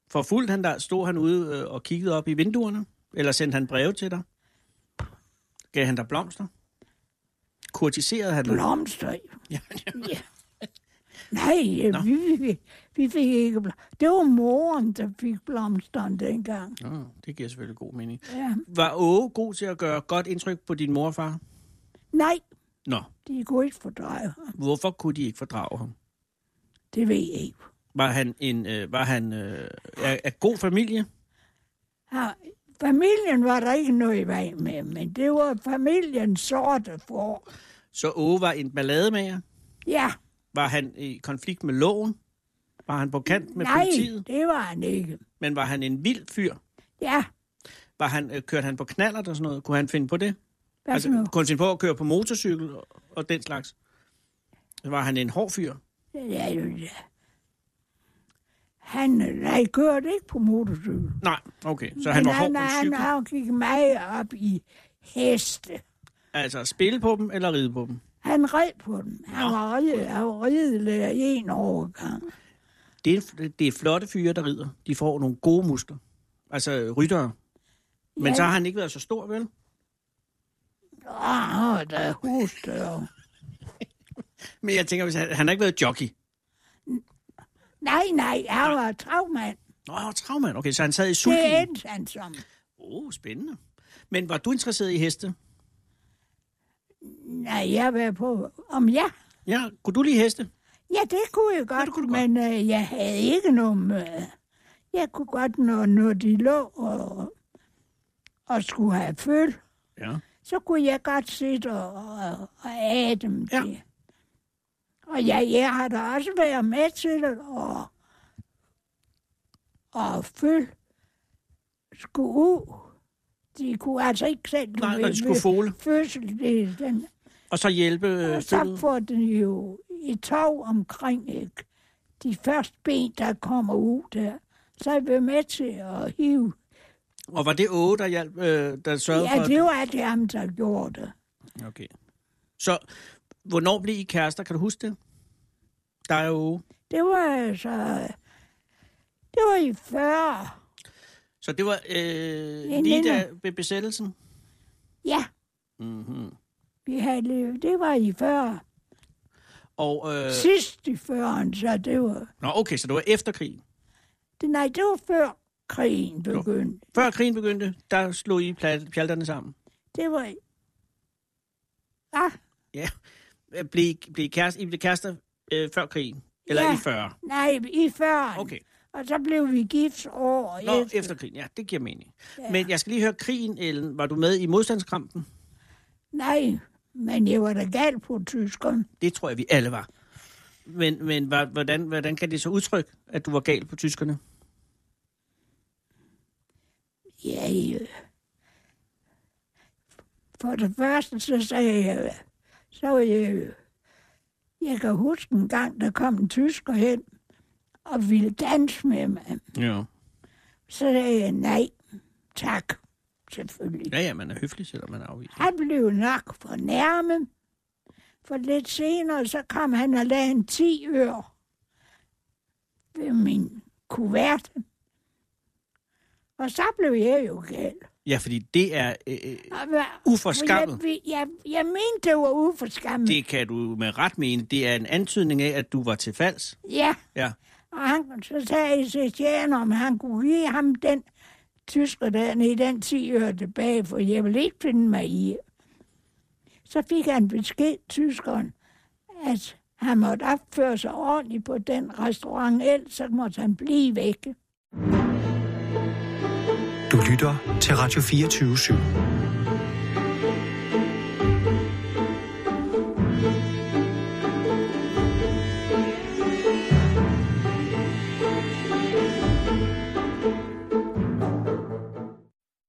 S3: For fuldt han der, stod han ude øh, og kiggede op i vinduerne? Eller sendte han breve til dig? Gav han dig blomster? Kurtiserede han dig?
S11: Blomster? Ja. Nej, øh, vi, vi, vi fik ikke blomster. Det var moren, der fik blomsterne dengang.
S3: Oh, det giver selvfølgelig god mening.
S11: Ja.
S3: Var Åge god til at gøre godt indtryk på din mor og far?
S11: Nej,
S3: Nå,
S11: de kunne ikke fordreje ham.
S3: hvorfor kunne de ikke fordrage ham?
S11: Det ved jeg ikke.
S3: Var han en øh, var han øh, er, er god familie?
S11: Ja, familien var der ikke noget i vej med, men det var familiens sorte for.
S3: Så Åge var en ballademager?
S11: Ja,
S3: Var han i konflikt med loven? Var han på kant med
S11: nej,
S3: politiet?
S11: det var han ikke.
S3: Men var han en vild fyr?
S11: Ja,
S3: Var han, øh, kørte han på knallert og sådan noget? Kunne han finde på det?
S11: hvad altså, nu?
S3: kunne han finde på at køre på motorcykel og, og den slags? Var han en hård fyr?
S11: Ja, jo, ja. Han øh, nej, kørte ikke på motorcykel.
S3: Nej, okay. Så han
S11: Men
S3: var hård
S11: han,
S3: på en
S11: han,
S3: cykel?
S11: han gik meget op i heste.
S3: Altså at spille på dem eller ride på dem?
S11: Han red på dem. Han var ride, han var ridelærer en årgang.
S3: Det er, det er flotte fyre, der rider. De får nogle gode muskler. Altså øh, ryttere. Men
S11: Ja.
S3: så har han ikke været så stor, vel?
S11: Ah, der er husdør.
S3: Men jeg tænker, hvis han, han har ikke været jockey.
S11: Nej, nej, han var travmand.
S3: Nå, han var travmand. Okay, så han sad i
S11: Det
S3: sulken.
S11: endte han som.
S3: Åh, oh, spændende. Men var du interesseret i heste?
S11: Nej, jeg var på, om jeg
S3: Ja, kunne du lide heste?
S11: Ja, det kunne jeg godt, kunne men øh, jeg havde ikke nogen... Øh, jeg kunne godt, når, når de lå og, og skulle have føl,
S3: Ja.
S11: så kunne jeg godt sidde og, og, og æde dem ja. det. Og jeg, jeg har da også været med til det, og, og føl skulle ud. De kunne altså ikke selv... du
S3: Nej, når
S11: ved,
S3: de skulle
S11: ved
S3: fole.
S11: Fødsel, det, den,
S3: Og så hjælpe øh,
S11: og så
S3: følget?
S11: får den jo et tog omkring ikke? de første ben, der kommer ud der. Så er jeg med til at hive.
S3: Og var det Åge, der, hjalp, øh, der sørgede for...
S11: Ja, det var det ham, der gjorde det.
S3: Okay. Så, hvornår blev I kærester? Kan du huske det? Der er Åge.
S11: Det var altså... Det var i 40.
S3: Så det var øh,
S11: En
S3: lige
S11: vinder.
S3: da ved besættelsen?
S11: Ja,
S3: Mm-hmm.
S11: vi havde levet. Det var i 40.
S3: Og, øh,
S11: Øh. Sidst i 40'erne, så det var...
S3: nå, okay, så det var efter krigen.
S11: Det, nej, det var før krigen
S3: Jo.
S11: begyndte.
S3: Før krigen begyndte, der slog I pla- pjalterne sammen.
S11: Det var... Ah,
S3: Ja. Øh, Blev, I- blev I, kærester, I blev kærester øh, før krigen? Eller
S11: Ja.
S3: i 40?
S11: nej, i 40'erne.
S3: Okay.
S11: Og så blev vi gift år
S3: Nå, efter. krigen. Ja, det giver mening. Ja. Men jeg skal lige høre krigen, Ellen. Var du med i modstandskampen?
S11: Nej, men jeg var da gal på tyskerne.
S3: Det tror jeg, vi alle var. Men, men hva- hvordan, hvordan kan det så udtrykke, at du var gal på tyskerne?
S11: Ja, øh. For det første, så sagde jeg, øh, så var jeg, øh, jeg kan huske en gang, der kom en tysker hen og ville danse med mig.
S3: Ja.
S11: Så sagde jeg, nej, tak, selvfølgelig.
S3: Ja, ja, man er høflig, selvom man er afvist.
S11: Han blev nok for nærme. For lidt senere, så kom han og lagde en 10 øre ved min kuvert. Og så blev jeg jo gal.
S3: Ja, fordi det er... Øh, øh,
S11: Og hvad-
S3: Uforskammet.
S11: Jeg, jeg, jeg mente, det var uforskammet. Det...
S3: Mm. det kan du med ret mene. Det er en antydning af, at du var til falds.
S11: Ja,
S3: Ja.
S11: og han, så sagde Setian, om han kunne give ham den tysker dernede i den 10 øre tilbage, for jeg vil ikke finde mig i. Så fik han besked, tyskeren, at han måtte opføre sig ordentligt på den restaurant, ellers så måtte han blive væk.
S6: Du lytter til Radio 24 /7.